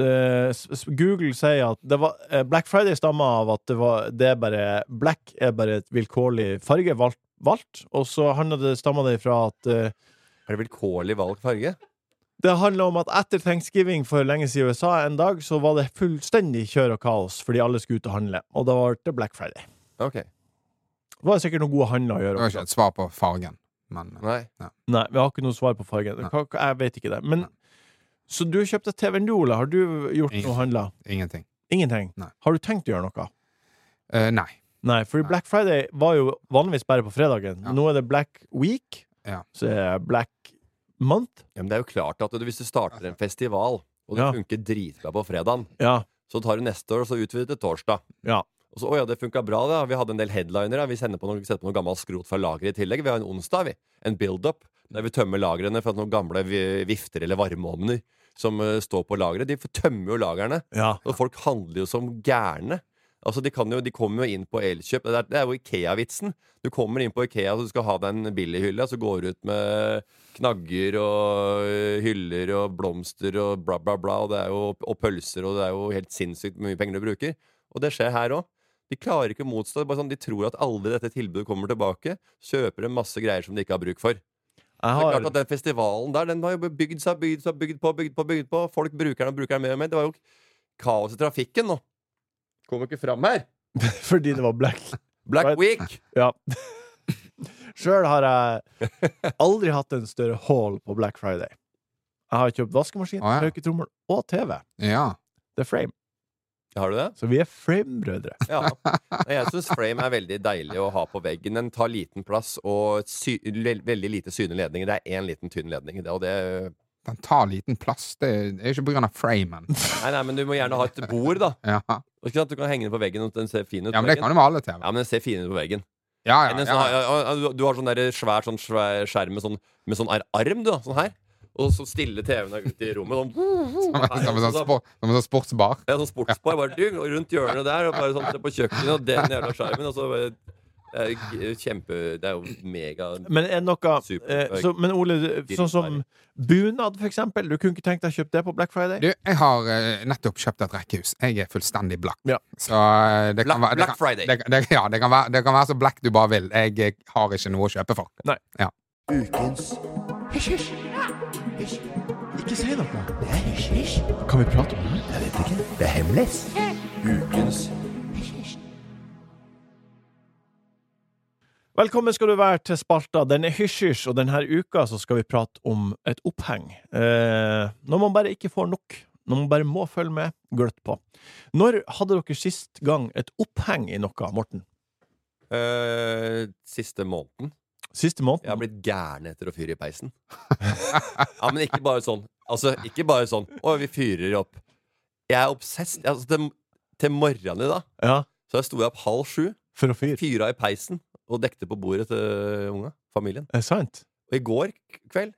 S2: det, s- s- Google sier at det var, eh, Black Friday stammer av at det, var, det er bare Black er bare et vilkårlig farge valgt, valgt og så handler det, stammer det fra at eh,
S5: Er det vilkårlig valgt farge?
S2: Det handler om at etter thanksgiving for lenge siden i USA en dag, så var det fullstendig kjør og kaos fordi alle skulle ut og handle. Og da ble det Black Friday.
S5: Ok,
S2: Det var sikkert noen gode handler å
S4: Det
S2: gjøre.
S4: var ikke
S2: Også.
S4: et svar på fargen, men eh,
S5: nei
S2: Nei, vi har ikke noe svar på fargen.
S4: Nei.
S2: Hva- hva- Jeg vet ikke det. Men, så du kjøpte TV-en du, Ole. Har du gjort
S4: Ingenting.
S2: noe handler?
S4: ingenting.
S2: Ingenting?
S4: Nei.
S2: Har du tenkt å gjøre noe?
S4: Eh, nei.
S2: Nei, fordi Black Friday var jo vanligvis bare på fredagen.
S4: Ja.
S2: Nå er det Black Week,
S4: Ja.
S2: så er det Black Month.
S5: Ja, men det er jo klart at du, hvis du starter en festival, og det
S2: Ja.
S5: funker dritbra på fredagen,
S2: Ja.
S5: så tar du neste år og så utvider du til torsdag.
S2: Ja.
S5: Og så, å ja, det funka bra, da. Vi hadde en del headlinere. Vi sender på noe, setter på noe gammelt skrot fra lageret i tillegg. Vi har en onsdag, vi. En build-up. Der vi tømmer lagrene for at noen gamle vi- vifter eller varmeovner som eh, står på lageret. De tømmer jo lagrene.
S2: ja.
S5: Og folk handler jo som gærne. Altså, de, kan jo, de kommer jo inn på Elkjøp. Det er, det er jo Ikea-vitsen. Du kommer inn på Ikea, så du skal ha deg en billighylle, så går du ut med knagger og øh, hyller og blomster og bla, bla, bla, og, det er jo, og pølser, og det er jo helt sinnssykt hvor mye penger du bruker. Og det skjer her òg. De klarer ikke å motstå. det er Bare sånn, de tror at aldri dette tilbudet kommer tilbake. Kjøper en masse greier som de ikke har bruk for.
S2: Jeg
S5: Det er
S2: har
S5: klart at Den festivalen der Den har jo bygd seg, bygd seg, bygd på, bygd på, bygd på. Folk bruker den og bruker den mer og mer. Det var jo kaos i trafikken nå. Kommer ikke fram her.
S2: Fordi det var black.
S5: Black
S2: Right.
S5: Week.
S2: Ja. Sjøl har jeg aldri hatt en større haul på Black Friday. Jeg har kjøpt vaskemaskin,
S4: Å, ja.
S2: tørketrommel og TV.
S4: Ja.
S2: Det er Frame.
S5: Har du det?
S2: Så vi er Frame-brødre.
S5: Ja. Nei, Jeg syns frame er veldig deilig å ha på veggen. Den tar liten plass og sy le- veldig lite synlige ledninger. Det er én liten tynn ledning. Det, og det
S4: Den tar liten plass. Det er jo ikke på grunn av framen.
S5: Nei, nei, men du må gjerne ha et bord, da.
S4: Ja. ja,
S5: Og Ikke sant? Du kan henge den på veggen, og den ser fin ut. på
S4: men det
S5: veggen.
S4: kan jo være alle TV.
S5: ja, men den ser fin ut på veggen.
S4: Ja,
S5: Enn
S4: ja,
S5: en
S4: ja,
S5: sånn,
S4: ja.
S5: ja, ja, du, du har sånn der svær, sånn svær skjerm med sånn, med sånn ar- arm, du, da. Sånn her. Og så stille TV-en deg ut i rommet. Sånn,
S4: Som en- som en sånn,
S5: Ja,
S4: spor- som en sånn sportsbar.
S5: ja, sånn sportsbar. Bare du, og rundt hjørnet der, og bare sånn se på kjøkkenet, og den jævla skjermen. Og så bare det er jo kjempe Det er jo mega
S2: Men er det noe
S5: Super.
S2: eh, så, Men Ole, du- sånn som bunad, for eksempel. Du kunne ikke tenkt deg å kjøpe det på Black Friday?
S4: Du, jeg har eh, nettopp kjøpt et rekkehus. Jeg er fullstendig black.
S2: Ja.
S4: Så eh, det kan
S5: Black-
S4: være det
S5: Black
S4: kan-
S5: Friday.
S4: Det, det, ja, det kan, være, det kan være så black du bare vil. Jeg eh, har ikke noe å kjøpe for.
S2: Nei.
S4: Ja.
S3: Ukens Hysj, hysj. Hysj.
S2: Ikke si noe!
S3: Det er hysj, hysj.
S2: Kan vi prate om det?
S3: Jeg vet ikke. Det er hemmelig. Ukens
S2: Velkommen skal du være til spalta Den er hysj-hysj, og denne uka så skal vi prate om et oppheng. Eh, når man bare ikke får nok. Når man bare må følge med. Gløtt på. Når hadde dere sist gang et oppheng i noe, Morten?
S5: Eh, Siste måneden.
S2: Siste
S5: Jeg har
S2: måneden?
S5: blitt gæren etter å fyre i peisen. Ja, men ikke bare sånn. Altså, ikke bare sånn. Å, vi fyrer opp. Jeg er obsess. Altså, til, til morgenen i dag
S2: Ja,
S5: så sto jeg opp halv sju.
S2: for å fyre.
S5: fyra i peisen og dekte på bordet til eh, unga, familien.
S2: Er det sant?
S5: Og i går k- kveld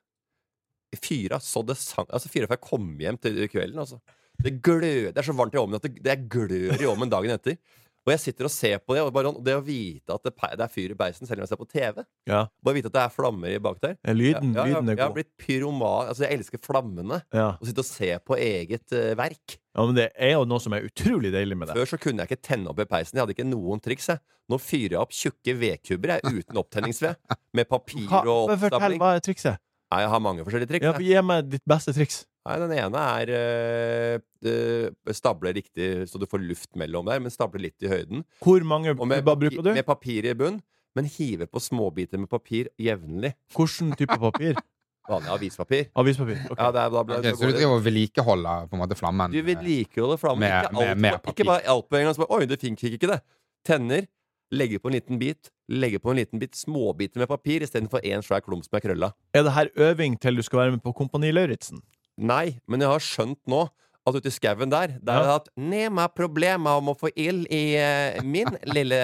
S5: fyra så det sang Altså fyra før jeg kom hjem til kvelden, altså. Det gløder. Det er så varmt i ovnen at det, det er glør i ovnen dagen etter. Og jeg sitter og ser på det, og bare, sånn- det å vite at det, pe- det er fyr i peisen selv om jeg ser på TV
S2: Ja.
S5: Bare vite at det er flammer i bak der.
S2: Er Lyden,
S5: Ja, ja,
S2: lyden er
S5: jeg, jeg har
S2: god.
S5: blitt pyroman. Altså, jeg elsker flammene.
S2: Ja.
S5: Å sitte og se på eget eh, verk.
S2: ja, men det er jo noe som er utrolig deilig med det.
S5: Før så kunne jeg ikke tenne opp i peisen. Jeg hadde ikke noen triks. jeg Nå fyrer jeg opp tjukke vedkubber jeg, uten opptenningsved. Med papir
S2: Hva,
S5: og
S2: men fortell,
S5: oppstapling.
S2: hva er trikset?
S5: Nei, jeg har mange forskjellige triks.
S2: Ja,
S5: jeg.
S2: gi meg ditt beste triks.
S5: Nei, den ene er øh, øh, stable riktig så du får luft mellom der, men stable litt i høyden.
S2: Hvor mange
S5: Og med,
S2: hva
S5: papi-
S2: bruker du?
S5: med papir i bunn, men hive på småbiter med papir jevnlig.
S2: Hvilken type papir?
S5: Vanlig avispapir.
S2: Avispapir. ok.
S5: Ja, det er, da, blir-
S4: Ok,
S5: da
S4: så
S5: går
S4: du
S5: det-
S4: driver og vedlikeholder på en måte flammen? eh,
S5: Du vedlikeholder flammen.
S4: Med-
S5: ikke,
S4: med-
S5: alt,
S4: med
S5: ikke
S4: papir.
S5: bare alt på en gang. Så bare, Oi, det fint gikk ikke, det. Tenner, legge på en liten bit, legge på en liten bit, småbiter med papir istedenfor én svær klump som er krølla.
S2: Er det her øving til du skal være med på Kompani Lauritzen?
S5: Nei, men jeg har skjønt nå at ute i skauen der, der har jeg hatt nema problemer om å få ild i eh, min lille,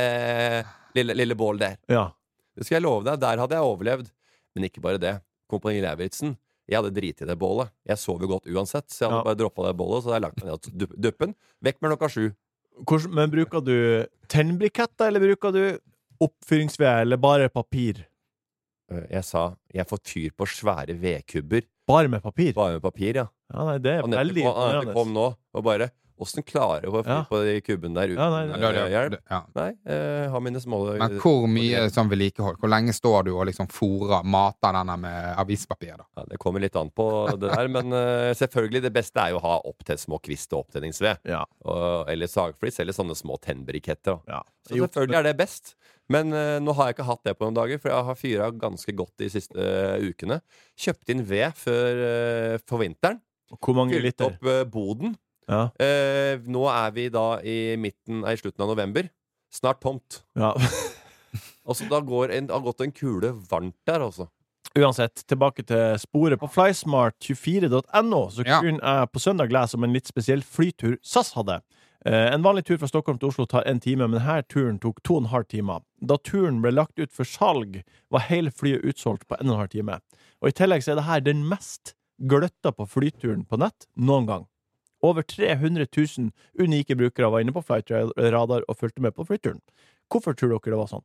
S5: lille, lille bål der.
S2: Ja.
S5: Det skal jeg love deg, der hadde jeg overlevd. Men ikke bare det. Kompani Lauritzen. Jeg hadde driti i det bålet. Jeg sov jo godt uansett, så jeg hadde
S2: Ja.
S5: bare droppa det bålet. Så hadde jeg lagt meg ned og dupp- duppen. Vekk med klokka sju.
S2: Hvordan- men bruker du tennbriketter, eller bruker du oppfyringsved, eller bare papir?
S5: Eh, Jeg sa jeg får tyr på svære vedkubber.
S2: Bare med papir?
S5: Bare med papir, ja.
S2: Ja, nei, det er
S5: Anette
S2: veldig
S5: kom, Anette kom
S2: imponerende.
S5: nå og bare Åssen klarer du å få fyr
S2: Ja.
S5: på de kubbene der uten
S2: Ja, nei,
S4: Ja,
S2: nei.
S4: det er
S5: eh,
S4: det-
S5: hjelp?
S4: det- ja.
S5: Nei, eh, har mine små
S4: Men hvor mye sånn vedlikehold? Hvor lenge står du og liksom fôrer, mater denne med avispapir? da?
S5: Ja, det kommer litt an på det der, men eh, selvfølgelig det beste er jo å ha opp til små kvist og opptenningsved.
S2: Ja.
S5: Og- Eller sagflis, eller sånne små tennbriketter. da.
S2: Ja.
S5: Så selvfølgelig er det best. Men eh, nå har jeg ikke hatt det på noen dager, for jeg har fyra ganske godt de siste eh, ukene. Kjøpt inn ved før, eh, for vinteren.
S2: Hvor mange
S5: Fylt
S2: liter?
S5: opp eh, boden.
S2: Ja.
S5: Eh, nå er vi da i midten, nei, i slutten av november. Snart tomt.
S2: Ja.
S5: Altså, da går en, det har gått en kule varmt der, altså.
S2: Uansett, tilbake til sporet på flysmart24.no, så
S4: Ja.
S2: kunne jeg på søndag lese om en litt spesiell flytur SAS hadde. Eh, en vanlig tur fra Stockholm til Oslo tar en time, men her turen tok to og en halv time. Da turen ble lagt ut for salg, var hele flyet utsolgt på en og en halv time. Og i tillegg så er det her den mest gløtta på flyturen på nett noen gang. Over 300 000 unike brukere var inne på flightradar og fulgte med på flyturen. Hvorfor tror dere det var sånn?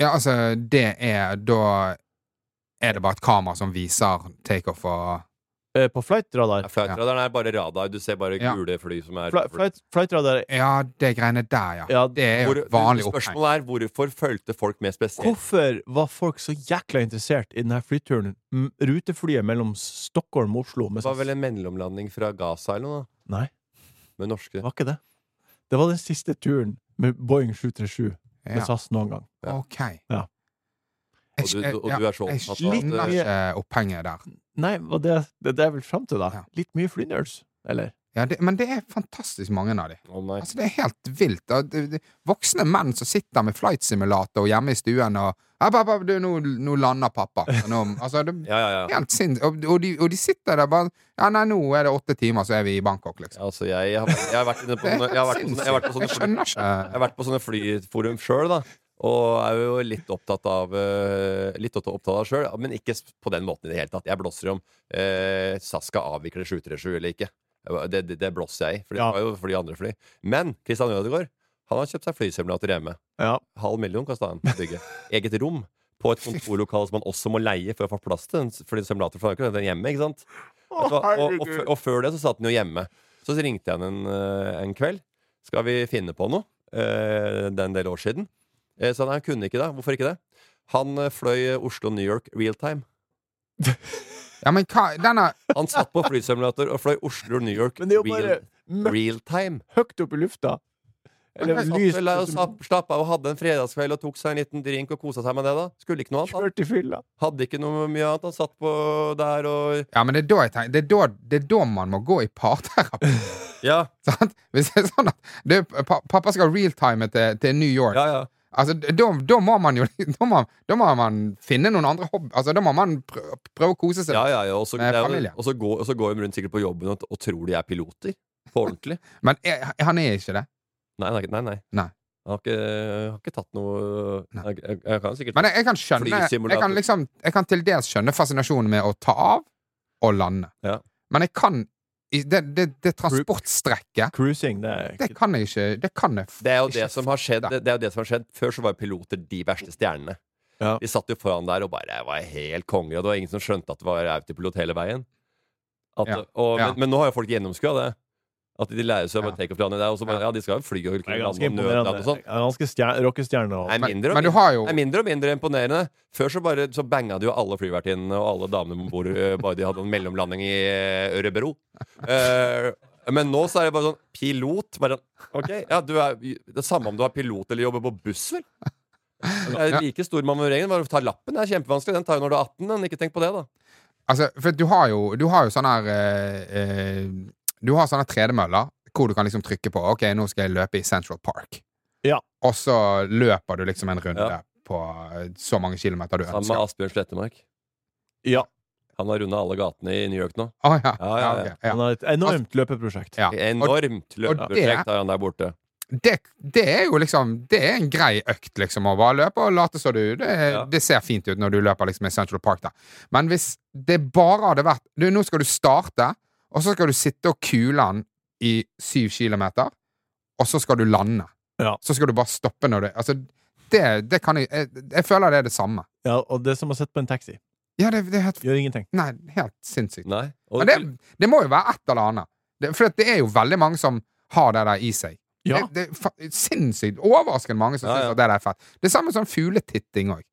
S4: Ja, altså, det er Da er det bare et kamera som viser takeoff og
S2: Eh, på flightradar?
S5: Flightradaren er bare radar. Du ser bare
S4: Ja.
S5: gule fly som er
S2: Fly, flight, flightradar
S4: Ja, det greiene der, ja.
S2: Ja,
S4: det er jo
S5: Hvor,
S4: et vanlig opphengt.
S5: Spørsmålet er hvorfor fulgte folk med spesielt?
S2: Hvorfor var folk så jækla interessert i denne flyturen? M- Ruteflyet mellom Stockholm og Oslo? med
S5: Det var vel
S2: SAS?
S5: en mellomlanding fra Gaza eller noe? da,
S2: Nei,
S5: Med norske
S2: det var ikke det. Det var den siste turen med Boeing 737 med
S4: Ja.
S2: SAS noen gang.
S4: OK.
S2: Ja.
S4: Jeg-
S5: Og du- og
S4: ja,
S5: du er så
S4: Jeg
S5: opptatt av at-
S4: skjønner ikke opphenget der.
S2: Nei, var det, det er det jeg vil fram til, da.
S4: Ja.
S2: Litt mye flynerds, eller?
S4: Ja, det, men det er fantastisk mange av dem.
S5: Å nei.
S4: Altså, det er helt vilt. Og det- det- Voksne menn som sitter med flightsimulator hjemme i stuen og «Ja, pappa, du, nå, nå lander pappa. Og Nå, altså, det,
S5: Ja, ja, ja.
S4: helt sinns... Og, og, de, og de sitter der bare Ja, nei, nå er det åtte timer, så er vi i Bangkok, liksom.
S5: Ja, Altså, jeg, jeg, har, jeg har vært inne på
S4: Det er
S5: sånne, jeg har vært på
S4: sinnssykt.
S5: sånne, jeg har vært på sånne,
S4: Jeg
S5: fly,
S4: skjønner
S5: jeg har vært på sånne
S4: ikke.
S5: flyforum sjøl, da. Og er jo litt opptatt av eh, Litt opptatt av sjøl, men ikke s- på den måten i det hele tatt. Jeg blåser i om eh, SAS skal avvikle 737 eller ikke. Det, det, det blåser jeg i, for det
S2: Ja.
S5: var jo for de andre fly. Men Christian Ødegaard han har kjøpt seg flysimulator hjemme.
S2: Ja.
S5: Halv million kosta han å bygge. Eget rom på et kontorlokale som han også må leie for å få plass til. en- Fordi simulator får han ikke den hjemme, ikke sant? Vet du hva? og, og, fø- og før det så satt han jo hjemme. Så ringte jeg han en, eh, en kveld. Skal vi finne på noe? Eh, Det er en del år siden. Eh, Så han kunne ikke det. Hvorfor ikke det? Han eh, fløy eh, Oslo-New York real time.
S4: Ja, men hva Denne
S5: Han satt på flysimulator og fløy Oslo-New York
S2: Men det er jo bare
S5: real, real time.
S2: høyt opp i lufta. Eller
S5: Han
S2: lys
S5: satt vel der og slapp- slapp av og hadde en fredagskveld og tok seg en liten drink og kosa seg med det. da Skulle ikke noe annet. Han
S2: kjørt i fylla.
S5: hadde ikke noe mye annet. Han satt på der og
S4: Ja, men det er da jeg tenker Det er da, det er da man må gå i parterapi.
S5: Ja,
S4: Sant? Hvis det er sånn at du, pa, pappa skal realtime til, til New York
S5: ja, ja.
S4: Altså, da, da må man jo da må, da må man finne noen andre hobby Altså, da må man prøve, prøve å kose seg.
S5: ja, ja, ja. Og så
S4: Med
S5: det er jo-
S4: familie.
S5: og så går, og så går de rundt sikkert på jobben og, og tror de er piloter. På ordentlig.
S4: Men er, han er ikke det.
S5: Nei, nei. nei, nei.
S4: Nei.
S5: Han har ikke, har ikke tatt noe
S4: Nei.
S5: jeg, jeg, jeg kan sikkert
S4: Men jeg, jeg kan skjønne jeg kan,
S5: Flysimulator.
S4: liksom, jeg kan til dels skjønne fascinasjonen med å ta av og lande.
S5: Ja.
S4: Men jeg kan i- Det, det, det transportstrekket
S2: Cruising, det er
S4: det
S2: ikke
S4: kan jeg ikke Det kan jeg f-
S5: Det er jo
S4: ikke
S5: det som har skjedd.
S4: fatte.
S5: Det er jo det som har skjedd Før så var jo piloter de verste stjernene.
S2: Ja.
S5: De satt jo foran der og bare var helt konger, og det var ingen som skjønte at det var autopilot hele veien. At,
S4: Ja.
S5: Og,
S4: Ja.
S5: men, men nå har jo folk gjennomskua det. At de lærer seg å
S4: Ja.
S5: bare take off lande. Det er jo også bare- Ja, de skal jo fly og
S2: Det er
S5: kunne
S2: ganske
S5: lande og nødlande
S2: imponerende.
S5: og
S2: Det
S5: sånn.
S2: er Ganske stjer- rockestjerne. og-
S5: Det er
S4: Men,
S5: mindre og
S4: men du
S5: mindre-
S4: har jo
S5: det er mindre og mindre imponerende. Før så bare så banga de jo alle flyvertinnene og alle damene om bord øh, bare de hadde en mellomlanding i øh, Ørebro. Eh, men nå så er det bare sånn pilot. Bare, ok, ja, du er, Det er samme om du er pilot eller jobber på buss, vel. Det er like stor manøvrering. Bare ta lappen. Det er kjempevanskelig. Den tar jo når du er 18. Men ikke tenk på det, da.
S4: Altså, for du har jo, du har jo sånne her eh, eh, Du har sånne tredemøller hvor du kan liksom trykke på Ok, nå skal jeg løpe i Central Park.
S2: Ja.
S4: Og så løper du liksom en runde
S5: Ja.
S4: på eh, så mange kilometer du
S5: Sammen med
S4: ønsker.
S5: Asbjørn Slettemark.
S2: Ja.
S5: Han har runda alle gatene i New York nå.
S4: Å,
S5: Ja, ja,
S4: ja.
S5: Sånn ja. Altså-
S4: ok,
S2: Han har et enormt løpeprosjekt.
S4: ja.
S5: Enormt løpeprosjekt har han der borte.
S4: Det, det er jo liksom Det er en grei økt, liksom, å bare løpe og late som du det,
S5: Ja.
S4: det ser fint ut når du løper liksom i Central Park der. Men hvis det bare hadde vært du, Nå skal du starte, og så skal du sitte og kule den i syv kilometer, og så skal du lande.
S2: Ja.
S4: Så skal du bare stoppe når du Altså, det, det kan jeg, jeg Jeg føler det er det samme.
S2: Ja, og det er som å sitte på en taxi.
S4: Ja, det, det er helt
S2: Gjør ingenting.
S4: Nei, helt sinnssykt.
S5: Nei. Og,
S4: Men det, det må jo være et eller annet. Det, for det er jo veldig mange som har det der i seg.
S2: Ja.
S4: Det, det er fa- sinnssykt overraskende mange som
S5: Ja, ja.
S4: syns at det der er fett. Det samme som fugletitting òg.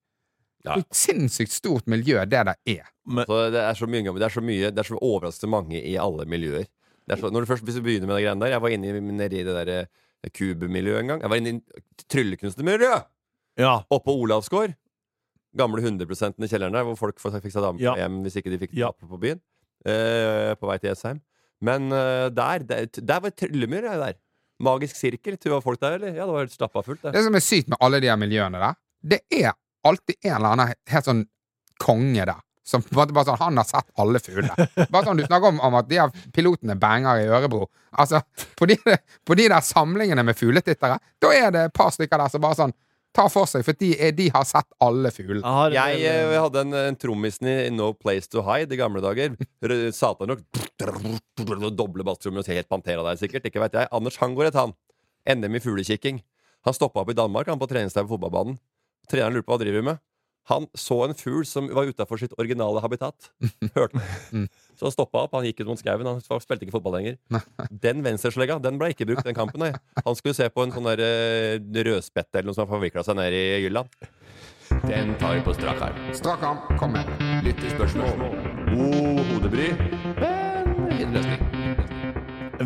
S5: Ja.
S4: Sinnssykt stort miljø det der er.
S2: Men,
S5: Så det er så mye, det er så mye Det er så overraskende mange i alle miljøer. Det er så, når du først hvis du begynner med de greiene der Jeg var inne i, nede i det der eh, kubemiljøet en gang. Jeg var inne i tryllekunstnermiljøet!
S2: ja.
S5: Oppe på Olavsgård. Gamle 100 i kjelleren der, hvor folk f- fikk seg dame
S2: Ja.
S5: hjem hvis ikke de fikk
S2: Ja.
S5: tappe på byen. Eh, på vei til Jessheim. Men eh, der, der, der var tryllemyr, jeg, der. Magisk sirkel. Tror du det var folk der, eller? Ja, det var helt stappa fullt, det.
S4: Det som er sykt med alle de her miljøene der, det er alltid en eller annen helt sånn konge der. Som på en måte bare sånn, Han har sett alle fugler. Bare sånn du snakker om, om at de her pilotene banger i Ørebro. Altså, på de, på de der samlingene med fugletittere, da er det et par stykker der som bare sånn tar for seg, for de, er- de har sett alle fuglene.
S2: har en
S5: Jeg
S2: del-
S5: eh, hadde en, en trommisen i No Place To Hide i gamle dager. Rø- Satan rock. Doble basstrommer og ser helt Pantera der, sikkert. Ikke vet jeg. Anders Hangoret, han. NM i fuglekikking. Han stoppa opp i Danmark han på treningsleir på fotballbanen. Treneren lurte på hva han driver med. Han så en fugl som var utafor sitt originale habitat. Hørte
S2: Mm.
S5: meg. Så han stoppa opp. Han gikk ut mot skauen. Han spilte ikke fotball lenger. Den venstreslegga den ble ikke brukt den kampen. Nei. Han skulle se på en sånn der, eh, rødspette eller noe som har forvikla seg ned i Jylland. Den tar vi på strak arm.
S4: Strak arm, kom med.
S5: Lyttespørsmål. God hodebry, men fin løsning.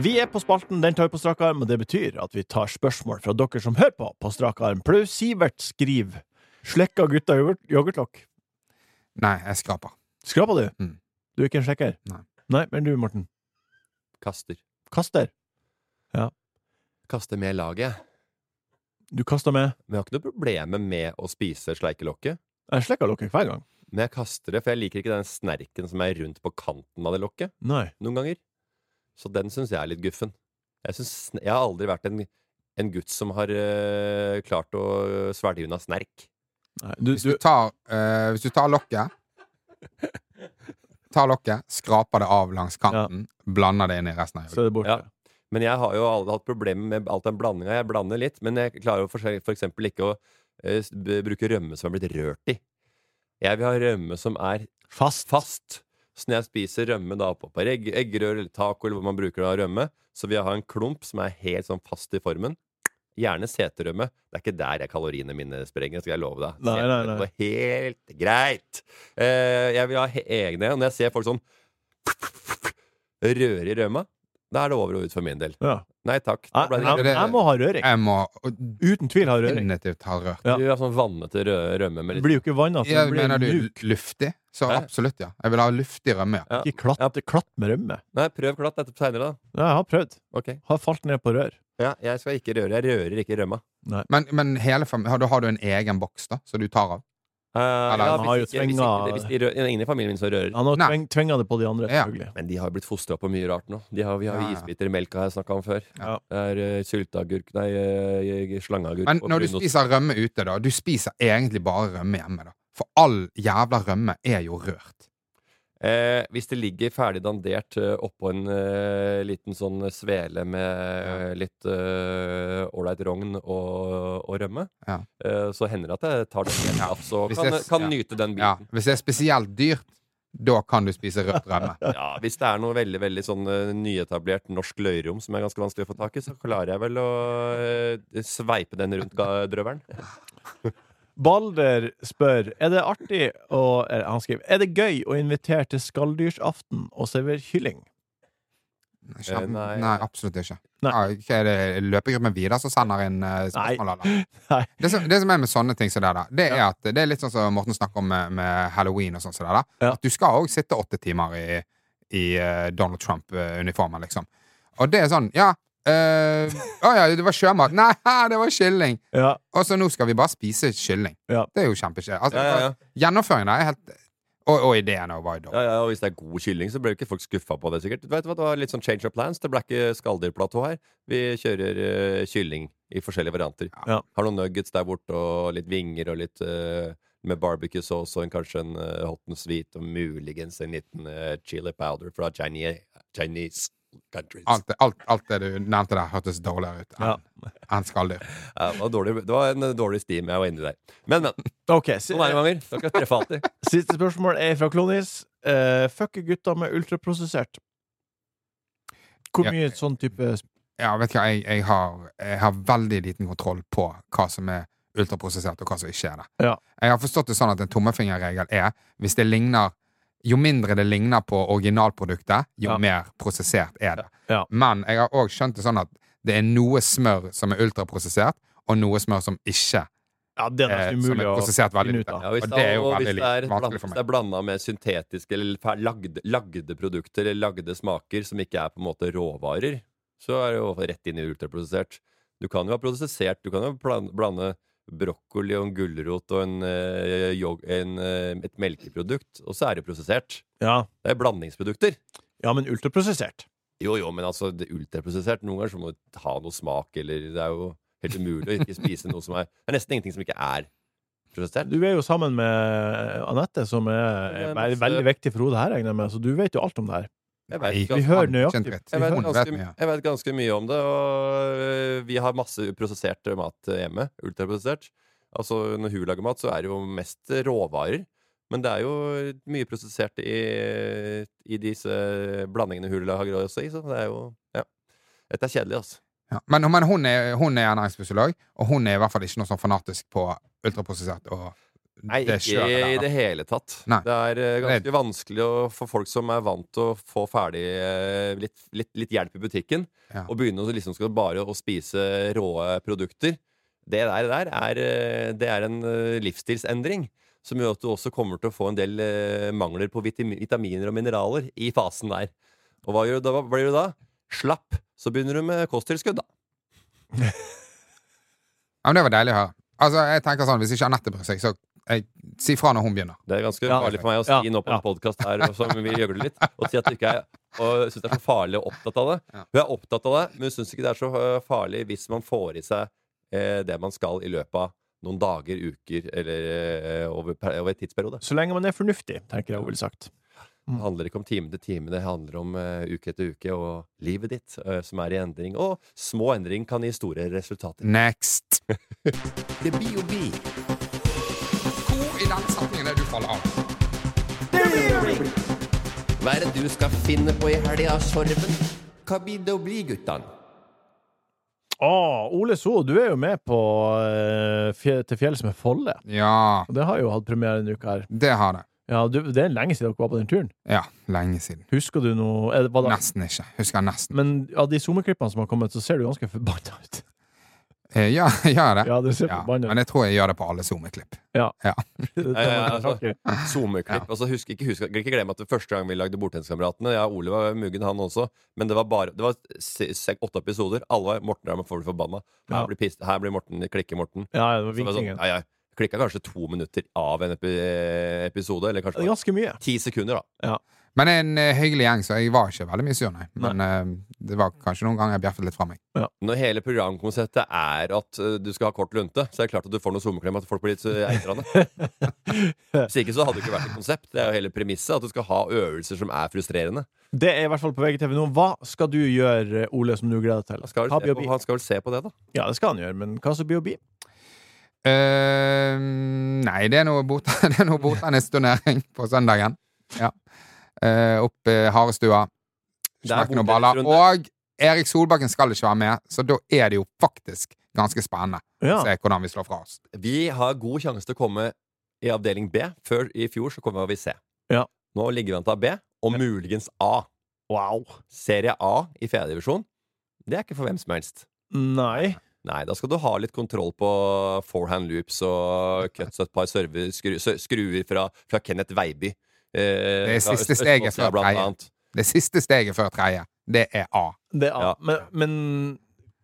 S2: Vi er på spalten Den tar vi på strak arm, og det betyr at vi tar spørsmål fra dere som hører på på strak arm. Pluss Sivert skriver 'Slekka gutta yoghurt, yoghurtlokk'.
S4: Nei, jeg skraper.
S2: Skrapa du?
S4: Mm.
S2: Du er ikke en slekker?
S4: Nei.
S2: Nei, men du, Morten?
S5: Kaster.
S2: Kaster?
S5: Kaster med laget.
S2: Du kaster med
S5: Men jeg har ikke noe problem med å spise sleikelokket.
S2: Jeg slekker lokket hver gang.
S5: Men jeg kaster det, for jeg liker ikke den snerken som er rundt på kanten av det lokket
S2: Nei.
S5: noen ganger. Så den syns jeg er litt guffen. Jeg, synes, jeg har aldri vært en, en gutt som har eh, klart å svelge unna snerk.
S2: Nei. Du,
S4: Hvis du
S2: du,
S4: tar, eh, hvis du tar lokket Tar lokket, skraper det av langs kanten, blander det inn i resten av
S2: så er det borte.
S5: Ja. Men jeg har jo aldri hatt problemer med alt den blandinga. Jeg blander litt, men jeg klarer jo for, seg- for eksempel ikke å eh, s- b- bruke rømme som er blitt rørt i. Jeg vil ha rømme som er
S2: Fast.
S5: fast. Så når jeg spiser rømme da på, på egg, eggerør eller taco, eller hvor man bruker da rømme, så vil jeg ha en klump som er helt sånn fast i formen. Gjerne seterømme. Det er ikke der jeg kaloriene mine sprenger, skal jeg love deg.
S2: Nei, nei, nei.
S5: Seterømme går Helt greit. Eh, jeg vil ha he- egne. Og når jeg ser folk sånn røre i rømma, da er det over og ut for min del.
S2: Ja.
S5: Nei takk. Da ble
S2: Jeg,
S5: det
S2: jeg,
S4: det-
S2: jeg må ha røring.
S4: Jeg må
S2: Uten tvil ha røring.
S4: definitivt ha rørt.
S2: Ja.
S5: Du har sånn vannete rø- rømme med
S2: Det
S5: litt
S2: blir jo ikke vanna, så
S4: Jeg
S2: det blir
S4: mener du
S2: mjuk.
S4: luftig? Så
S5: Hæ?
S4: absolutt, ja. Jeg vil ha luftig rømme. ja.
S5: Ja.
S2: Ikke klatt, klatt med rømme.
S5: Nei, prøv glatt dette seinere, da.
S2: Ja, jeg har prøvd.
S5: Ok.
S2: Har falt ned på rør.
S5: Ja, jeg skal ikke røre. Jeg rører ikke rømma.
S4: Men, men hele familien, har, du, har du en egen boks da, som du tar av?
S5: Eh,
S4: Eller-
S5: ja,
S2: har
S5: hvis
S4: Han
S2: jo
S5: ikke- hvis
S2: tvinga-
S5: ikke- hvis de rø- det er Ingen i familien min som rører.
S2: Han har
S4: Nei.
S2: tveng, tvinga det på de andre,
S4: Ja.
S2: selvfølgelig.
S5: Men de har jo blitt fostra på mye rart nå. De har, vi har
S4: Ja,
S5: jo
S4: ja.
S5: isbiter i melka, har jeg snakka om før.
S2: Ja.
S5: Det er eh, sylteagurk Nei, uh, slangeagurk
S4: Men
S5: og
S4: når du
S5: brunost.
S4: spiser rømme ute, da Du spiser egentlig bare rømme hjemme, da. For all jævla rømme er jo rørt.
S5: Eh, Hvis det ligger ferdig dandert eh, oppå en eh, liten sånn svele med eh, litt eh, ålreit rogn og, og rømme,
S4: Ja.
S5: eh, så hender det at jeg tar den helt av, så
S4: Hvis
S5: kan,
S4: jeg s-
S5: kan
S4: ja.
S5: nyte den
S4: Ja,
S5: biten.
S4: hvis det er spesielt dyrt, da kan du spise rørt rømme.
S5: Ja, hvis det er noe veldig veldig sånn eh, nyetablert norsk løyrom som er ganske vanskelig å få tak i, så klarer jeg vel å eh, sveipe den rundt ga- drøvelen.
S2: Balder spør Er det artig å eller, Han skriver Er det gøy å invitere til skalldyrsaften og servere kylling?
S5: Eh,
S4: Nei,
S5: nei.
S4: absolutt ikke.
S2: Nei.
S4: Ja, hva er det løpegruppen Vidar som sender inn eh, spørsmål? eller?
S2: Nei.
S4: Det, som, det som er med sånne ting som det der, det er at det er litt sånn som Morten snakker om med, med halloween og sånn som det der.
S2: Ja.
S4: At du skal òg sitte åtte timer i, i eh, Donald Trump-uniformen, liksom. Og det er sånn, ja eh, Å ja, det var sjømat. Nei, det var kylling!
S2: Ja,
S4: Og så nå skal vi bare spise kylling.
S2: Ja.
S4: Det er jo kjempekjedelig. Altså,
S5: Ja, ja, ja.
S4: Gjennomføringen der er helt Og, og ideen er jo bare dum.
S5: Ja, ja, og Hvis det er god kylling, så blir jo ikke folk skuffa på det. sikkert Du vet hva, Det var litt sånn change of plans. Det ble ikke skalldyrplatå her. Vi kjører eh, kylling i forskjellige varianter.
S2: Ja.
S5: Har noen nuggets der borte, og litt vinger og litt eh, med barbecue sauce og en, kanskje en eh, hot and sweet og muligens en liten eh, chili powder fra Chinese, Chinese countries.
S4: Alt, alt, alt det du nevnte der, hørtes dårligere ut enn
S2: Ja.
S4: enn skalldyr.
S5: Ja, det, var dårlig, det var en eh, dårlig steam jeg var inne i der. Men, men.
S2: OK. si-
S5: Sånn er det mange ganger. Dere treffer alltid.
S2: Siste spørsmål er fra Klonis. Uh, Fucker gutta med ultraprosessert? Hvor
S4: Ja.
S2: mye sånn type
S4: Ja, vet du hva, jeg, jeg, har, jeg har veldig liten kontroll på hva som er ultraprosessert, og hva som ikke er det.
S2: Ja.
S4: Jeg har forstått det sånn at en tommefingerregel er hvis det ligner Jo mindre det ligner på originalproduktet, jo
S2: Ja.
S4: mer prosessert er det.
S2: Ja.
S4: Men jeg har òg skjønt det sånn at det er noe smør som er ultraprosessert, og noe smør som ikke
S2: Ja, det er
S4: eh,
S2: nesten
S4: som
S2: umulig
S4: er
S2: å
S4: prosessert veldig
S2: finne ut
S4: lite.
S2: av.
S5: Ja, hvis
S4: og
S5: det,
S4: det er jo
S5: og hvis
S4: veldig
S5: det er,
S4: litt
S5: bland-
S4: vanskelig
S5: hvis
S4: for
S5: det
S4: meg.
S5: er blanda med syntetiske eller fer- lagde, lagde produkter eller lagde smaker som ikke er på en måte råvarer, så er det jo rett inn i ultraprosessert. Du kan jo ha prosessert. Du kan jo blan- blande brokkoli og en gulrot og en, eh, yog- en, eh, et melkeprodukt, og så er det prosessert.
S2: Ja,
S5: Det er blandingsprodukter.
S2: ja men ultraprosessert.
S5: Jo, jo, men altså, det ultraprosessert Noen ganger så må du ha noe smak, eller det er jo helt umulig å ikke spise noe som er Det er nesten ingenting som ikke er prosessert.
S2: Du er jo sammen med eh, Anette, som er,
S5: Det er
S2: er
S5: masse-
S2: veldig viktig for henne her, regner jeg med, så du vet jo alt om det her.
S5: Jeg vet
S4: Nei,
S5: ikke,
S2: Vi
S5: altså.
S2: hører
S4: Kjent
S2: nøyaktig
S4: rett.
S5: Jeg vet,
S4: Hun vet
S5: ganske,
S4: mye.
S5: jeg vet ganske mye om det, og øh, vi har masse prosessert øh, mat hjemme. Ultraprosessert. Altså, når hun lager mat, så er det jo mest råvarer. Men det er jo mye prosessert i, i disse blandingene hun lager også i, så det er jo Ja. Dette er kjedelig, altså.
S4: Ja. Men, men hun er, hun er ernæringsfysiolog, og hun er i hvert fall ikke noe sånn fanatisk på ultraprosessert og
S5: Nei,
S4: det
S5: ikke
S4: kjøret
S5: i
S4: der.
S5: det hele tatt.
S4: Nei.
S5: Det er eh,
S4: Det-
S5: ganske vanskelig å, for folk som er vant til å få ferdig eh, litt, litt, litt hjelp i butikken,
S4: Ja.
S5: og begynne å liksom skal bare å spise råe produkter. Det der, der er, eh, det er en eh, livsstilsendring. Som gjør at du også kommer til å få en del eh, mangler på vitam- vitaminer og mineraler i fasen der. Og hva, gjør du da, hva blir du da? Slapp. Så begynner du med kosttilskudd, da.
S4: Ja, men det var deilig å høre. Altså, jeg tenker sånn, Hvis ikke Anette bryr seg, så jeg, si fra når hun begynner.
S5: Det er ganske
S2: Ja.
S5: farlig for meg å
S2: Ja,
S5: si nå på en
S2: ja.
S5: podkast her og som vil gjøgle litt, og si at du ikke er og syns det er så farlig og opptatt av det.
S4: Ja.
S5: Hun er opptatt av det, men hun syns ikke det er så øh, farlig hvis man får i seg eh, det man skal i løpet av noen dager, uker eller eh, over, per- over en tidsperiode.
S2: Så lenge man er fornuftig, tenker jeg hun ville sagt. Mm.
S5: Det handler ikke om time til time, det handler om eh, uke etter uke og livet ditt eh, som er i endring. Og små endring kan gi store resultater.
S4: Next!
S3: Det blir jo bi.
S4: Hvor i den setningen er du faller av?
S5: Hva er det du skal finne på i helga, Sorven? Hva blir det å bli, guttan?
S2: Å, Ole So, du er jo med på eh, fje, Til fjells med Folle.
S4: Ja,
S2: Og det har jo hatt premiere denne uka her.
S4: det har det.
S2: Ja, du, Det er lenge siden dere var på den turen.
S4: Ja, lenge siden.
S2: Husker du noe er det, var det,
S4: Nesten ikke. Husker jeg nesten.
S2: Men av de SoMe-klippene som har kommet, så ser du ganske forbanna ut.
S4: Eh, ja, gjør det.
S2: Ja, du ser
S4: Ja,
S2: forbanna
S4: men
S2: ut.
S4: jeg tror jeg gjør det på alle SoMe-klipp.
S2: Det tar man
S5: Ja, ja,
S2: ikke
S5: altså.
S2: tak i.
S5: Zoom-klipp. Altså, husk, ikke, husk, ikke glem at det første gang vi lagde Bordtenniskameratene Ja, Ole var muggen, han også, men det var bare Det var se- se- åtte episoder. Alle var Morten er for forbanna. Her
S2: Ja.
S5: blir, pist, her blir Morten klikke-Morten.
S2: Ja, ja, det var
S5: Så det var sånn,
S2: vinkingen.
S5: ja, ja. Klikka kanskje to minutter av en epi episode, eller
S2: Det
S5: kanskje
S2: er
S5: bare
S2: ganske mye.
S5: ti sekunder, da.
S4: Men jeg er en eh, hyggelig gjeng, så jeg var ikke veldig mye sur, nei. Men eh, det var kanskje noen ganger jeg bjeffet litt fra meg.
S5: Når hele programkonseptet er at eh, du skal ha kort lunte, så er det klart at du får noen sommerklem at folk blir litt eh, eitrende. Hvis ikke så hadde det ikke vært et konsept. Det er jo hele premisset, at du skal ha øvelser som er frustrerende.
S2: Det er i hvert fall på VGTV nå. Hva skal du gjøre, Ole, som du gleder deg
S5: Han
S2: til?
S5: skal
S2: Hva
S5: vel se
S2: blir å
S5: på,
S2: bli?
S5: han skal vel se på det, da.
S2: Ja, det skal han gjøre, men hva som blir å bli?
S4: Eh, nei, det er noe bot- det er noe bordtennisturnering på søndagen. Ja. Eh, opp i Harestua.
S5: Det er
S4: Smekk noen baller. Og Erik Solbakken skal ikke være med, så da er det jo faktisk ganske spennende å
S2: Ja.
S4: se hvordan vi slår fra oss.
S5: Vi har god sjanse til å komme i avdeling B. Før i fjor så kommer vi C.
S2: Ja.
S5: Nå ligger vi an til å ha B, og muligens A.
S2: Wow.
S5: Serie A i fjerde divisjon, det er ikke for hvem som helst.
S2: Nei.
S5: Nei, da skal du ha litt kontroll på forehand loops og cuts og et par server, skru, sø- skruer fra, fra Kenneth Veiby. Eh,
S4: Det er
S5: fra
S4: siste
S5: Øst-
S4: steget
S5: Østfold,
S4: før
S5: blant
S4: tredje.
S5: annet.
S4: Det siste steget før tredje, det er A.
S2: Det er,
S5: Ja.
S2: men, men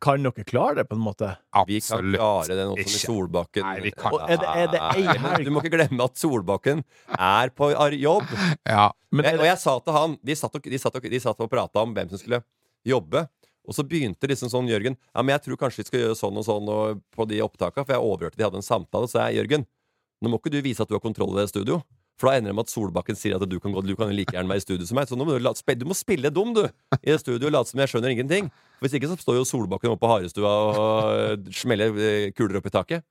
S2: kan dere klare det, på en måte?
S5: Vi kan klare
S4: Absolutt
S5: det nå som i
S4: ikke.
S5: Solbakken.
S4: Nei, vi kan
S2: Og er det- er det ei
S5: Nei, men Du må ikke glemme at Solbakken er på ar- jobb.
S4: Ja.
S2: Men
S5: jeg,
S2: er
S5: og
S2: det,
S5: jeg sa til han De satt og, de satt og, de satt og prata om hvem som skulle jobbe. Og så begynte liksom sånn Jørgen Ja, men jeg tror kanskje vi skal gjøre sånn og sånn og, på de opptakene. For jeg overhørte de hadde en samtale. Så jeg, Jørgen, nå må ikke du vise at du har kontroll i det studio. For da ender det med at Solbakken sier at du kan, gå, du kan jo like gjerne være i studio som meg. Så nå må du, la, spe- du må spille dum, du! I det studio og late som jeg skjønner ingenting. For Hvis ikke så står jo Solbakken oppe på Harestua og øh, smeller øh, kuler opp i taket.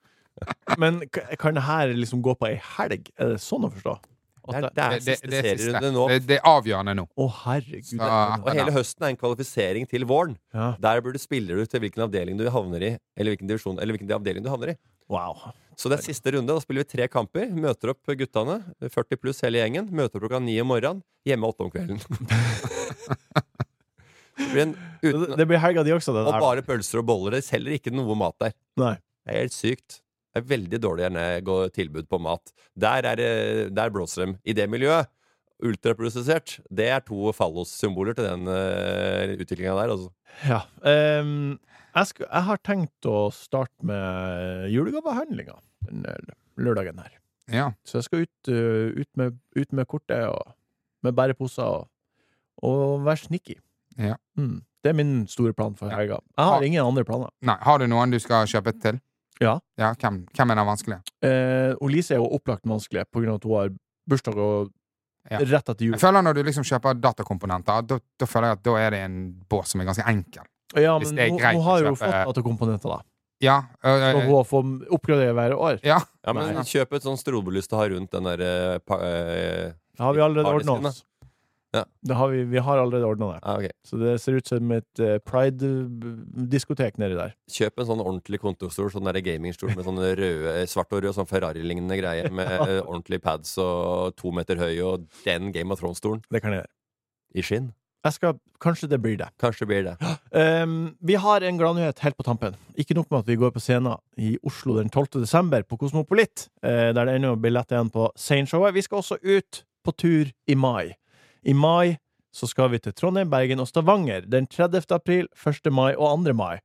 S2: men k- kan det her liksom gå på ei helg? Er det sånn å forstå?
S5: Det er,
S2: At det,
S5: det er
S4: Det, det,
S5: siste
S4: det er siste.
S5: serierunde nå.
S4: Det, det er avgjørende nå.
S2: å, herregud.
S4: Så,
S2: det-
S5: Og hele høsten er en kvalifisering til våren.
S2: Ja.
S5: Der burde spiller du til hvilken avdeling du havner i, eller hvilken divisjon, eller hvilken avdeling du havner i.
S2: Wow.
S5: Så det er siste runde. Da spiller vi tre kamper. Møter opp guttene. 40 pluss hele gjengen. Møter opp klokka ni om morgenen. Hjemme åtte om kvelden. Det blir en,
S2: Det,
S5: uten,
S2: det blir helga di også, det
S5: og
S2: der.
S5: bare pølser og boller. Det selger ikke noe mat der.
S2: Nei.
S5: Det er helt sykt. Det er veldig dårlig gjerne gå- tilbud på mat. Der, er, det- der blåser de i det miljøet. Ultraprosessert, det er to fallossymboler til den uh, utviklinga der. Altså.
S2: Ja. ehm, jeg, sku, jeg har tenkt å starte med julegavehandlinga den eh, lørdagen her.
S4: Ja.
S2: Så jeg skal ut, eh, ut, med, ut med kortet og med bæreposer og, og være sneaky.
S4: Ja.
S2: Mm. Det er min store plan for
S4: Ja.
S2: helga. Jeg har
S4: Ha-
S2: ingen andre planer.
S4: Nei, har du noen du skal kjøpe til?
S2: Ja.
S4: Ja, hvem, hvem er den vanskelige?
S2: Eh, og Lise er jo opplagt vanskelig på grunn av at hun har bursdag og
S4: Ja.
S2: rett etter jul.
S4: Jeg føler når du liksom kjøper datakomponenter, da, da føler jeg at da er det en bås som er ganske enkel.
S2: Ja,
S4: hvis
S2: men
S4: det er
S2: hun,
S4: greit
S2: hun har
S4: å
S2: jo
S4: kjøpe-
S2: fått datakomponenter, da.
S4: Ja, ø, ø,
S2: Og
S4: ø,
S2: hun får oppgradere hvert år.
S4: ja,
S5: Ja, men
S4: Nei.
S5: Kjøp et sånn strobelys du har rundt den der eh, pa, eh,
S2: Det har vi allerede
S5: Harddisken,
S2: ordna oss.
S5: da. Ja.
S2: Det har vi, vi har allerede ordna det.
S5: ja, ah, ok.
S2: Så det ser ut som et eh, pride-diskotek nedi der.
S5: Kjøp en sånn ordentlig kontostol, sånn der gamingstol med sånn røde, svart og rød, sånn Ferrari-lignende greie med eh, ordentlige pads og to meter høy og den Game of Thrones-stolen
S2: Det kan jeg gjøre.
S5: i skinn.
S2: Jeg skal, kanskje det blir det.
S5: Kanskje blir det.
S2: Ehm, vi har en gladnyhet helt på tampen. Ikke nok med at vi går på scenen i Oslo den 12. desember på Kosmopolit, eh, der det ennå er billett igjen på Seinshowet. Vi skal også ut på tur i mai. I mai så skal vi til Trondheim, Bergen og Stavanger den 30. april, 1. mai og 2. mai.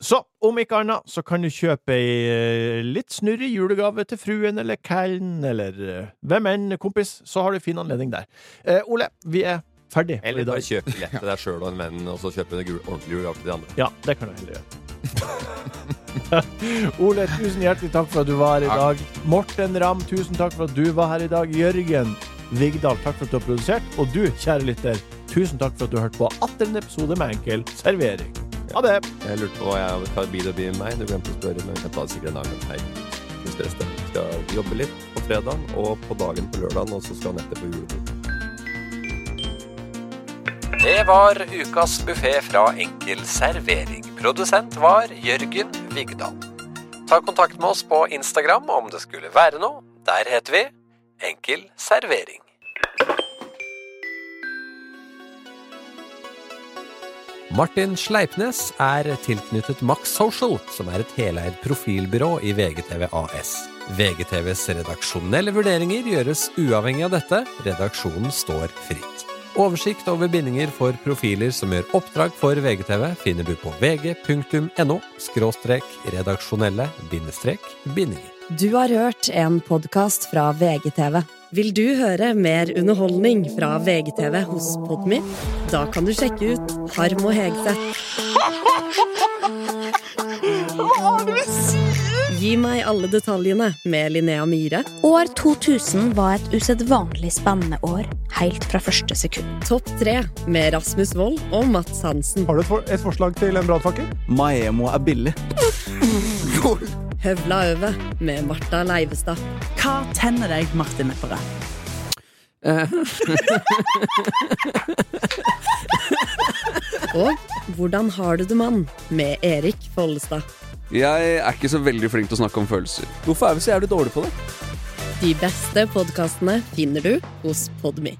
S2: Så om ikke annet så kan du kjøpe ei eh, litt snurrig julegave til fruen eller kælen eller eh, hvem enn, kompis, så har du fin anledning der. Eh, Ole, vi er ferdig for i
S5: Eller
S2: dag.
S5: bare kjøp billett til deg sjøl og en venn, og så kjøp en gul- ordentlig julegave til de andre.
S2: Ja, det kan du heller gjøre. Ole, tusen hjertelig takk for at du var her i dag. Morten Ramm, tusen takk for at du var her i dag. Jørgen Vigdal, takk for at du har produsert. Og du, kjære lytter, tusen takk for at du hørte på atter en episode med Enkel servering. Ha det!
S5: Jeg lurte på hva jeg hva blir det blir med meg. Du glemte å spørre, men jeg tar sikkert en annen hei. Ikke stress det. Skal jobbe litt på fredag og på dagen på lørdag, og så skal han etter på julebord.
S7: Det var ukas buffé fra Enkel servering. Produsent var Jørgen Vigdal. Ta kontakt med oss på Instagram om det skulle være noe. Der heter vi Enkel servering. Martin Sleipnes er tilknyttet Max Social, som er et heleid profilbyrå i VGTV AS. VGTVs redaksjonelle vurderinger gjøres uavhengig av dette. Redaksjonen står fritt. Oversikt over bindinger for profiler som gjør oppdrag for VGTV, finner du på vg.no – redaksjonelle – bindinger.
S8: Du har hørt en podkast fra VGTV. Vil du høre mer underholdning fra VGTV hos Podmy? Da kan du sjekke ut Harm og Hegseth. Gi meg alle detaljene med Linnea Myhre.
S9: År 2000 var et usedvanlig spennende år, helt fra første sekund.
S8: Topp tre med Rasmus Wold og Mats Hansen.
S2: Har du et, forslag til en brannfakkel?
S10: Maemo er billig.
S8: Høvla over med Marta Leivestad.
S11: Hva tenner deg, Martin Lepperød?
S8: Og Hvordan har du det, mann? med Erik Follestad.
S10: Jeg er ikke så veldig flink til å snakke om følelser. Hvorfor er vi så jævlig dårlige på det?
S8: De beste podkastene finner du hos Podmy.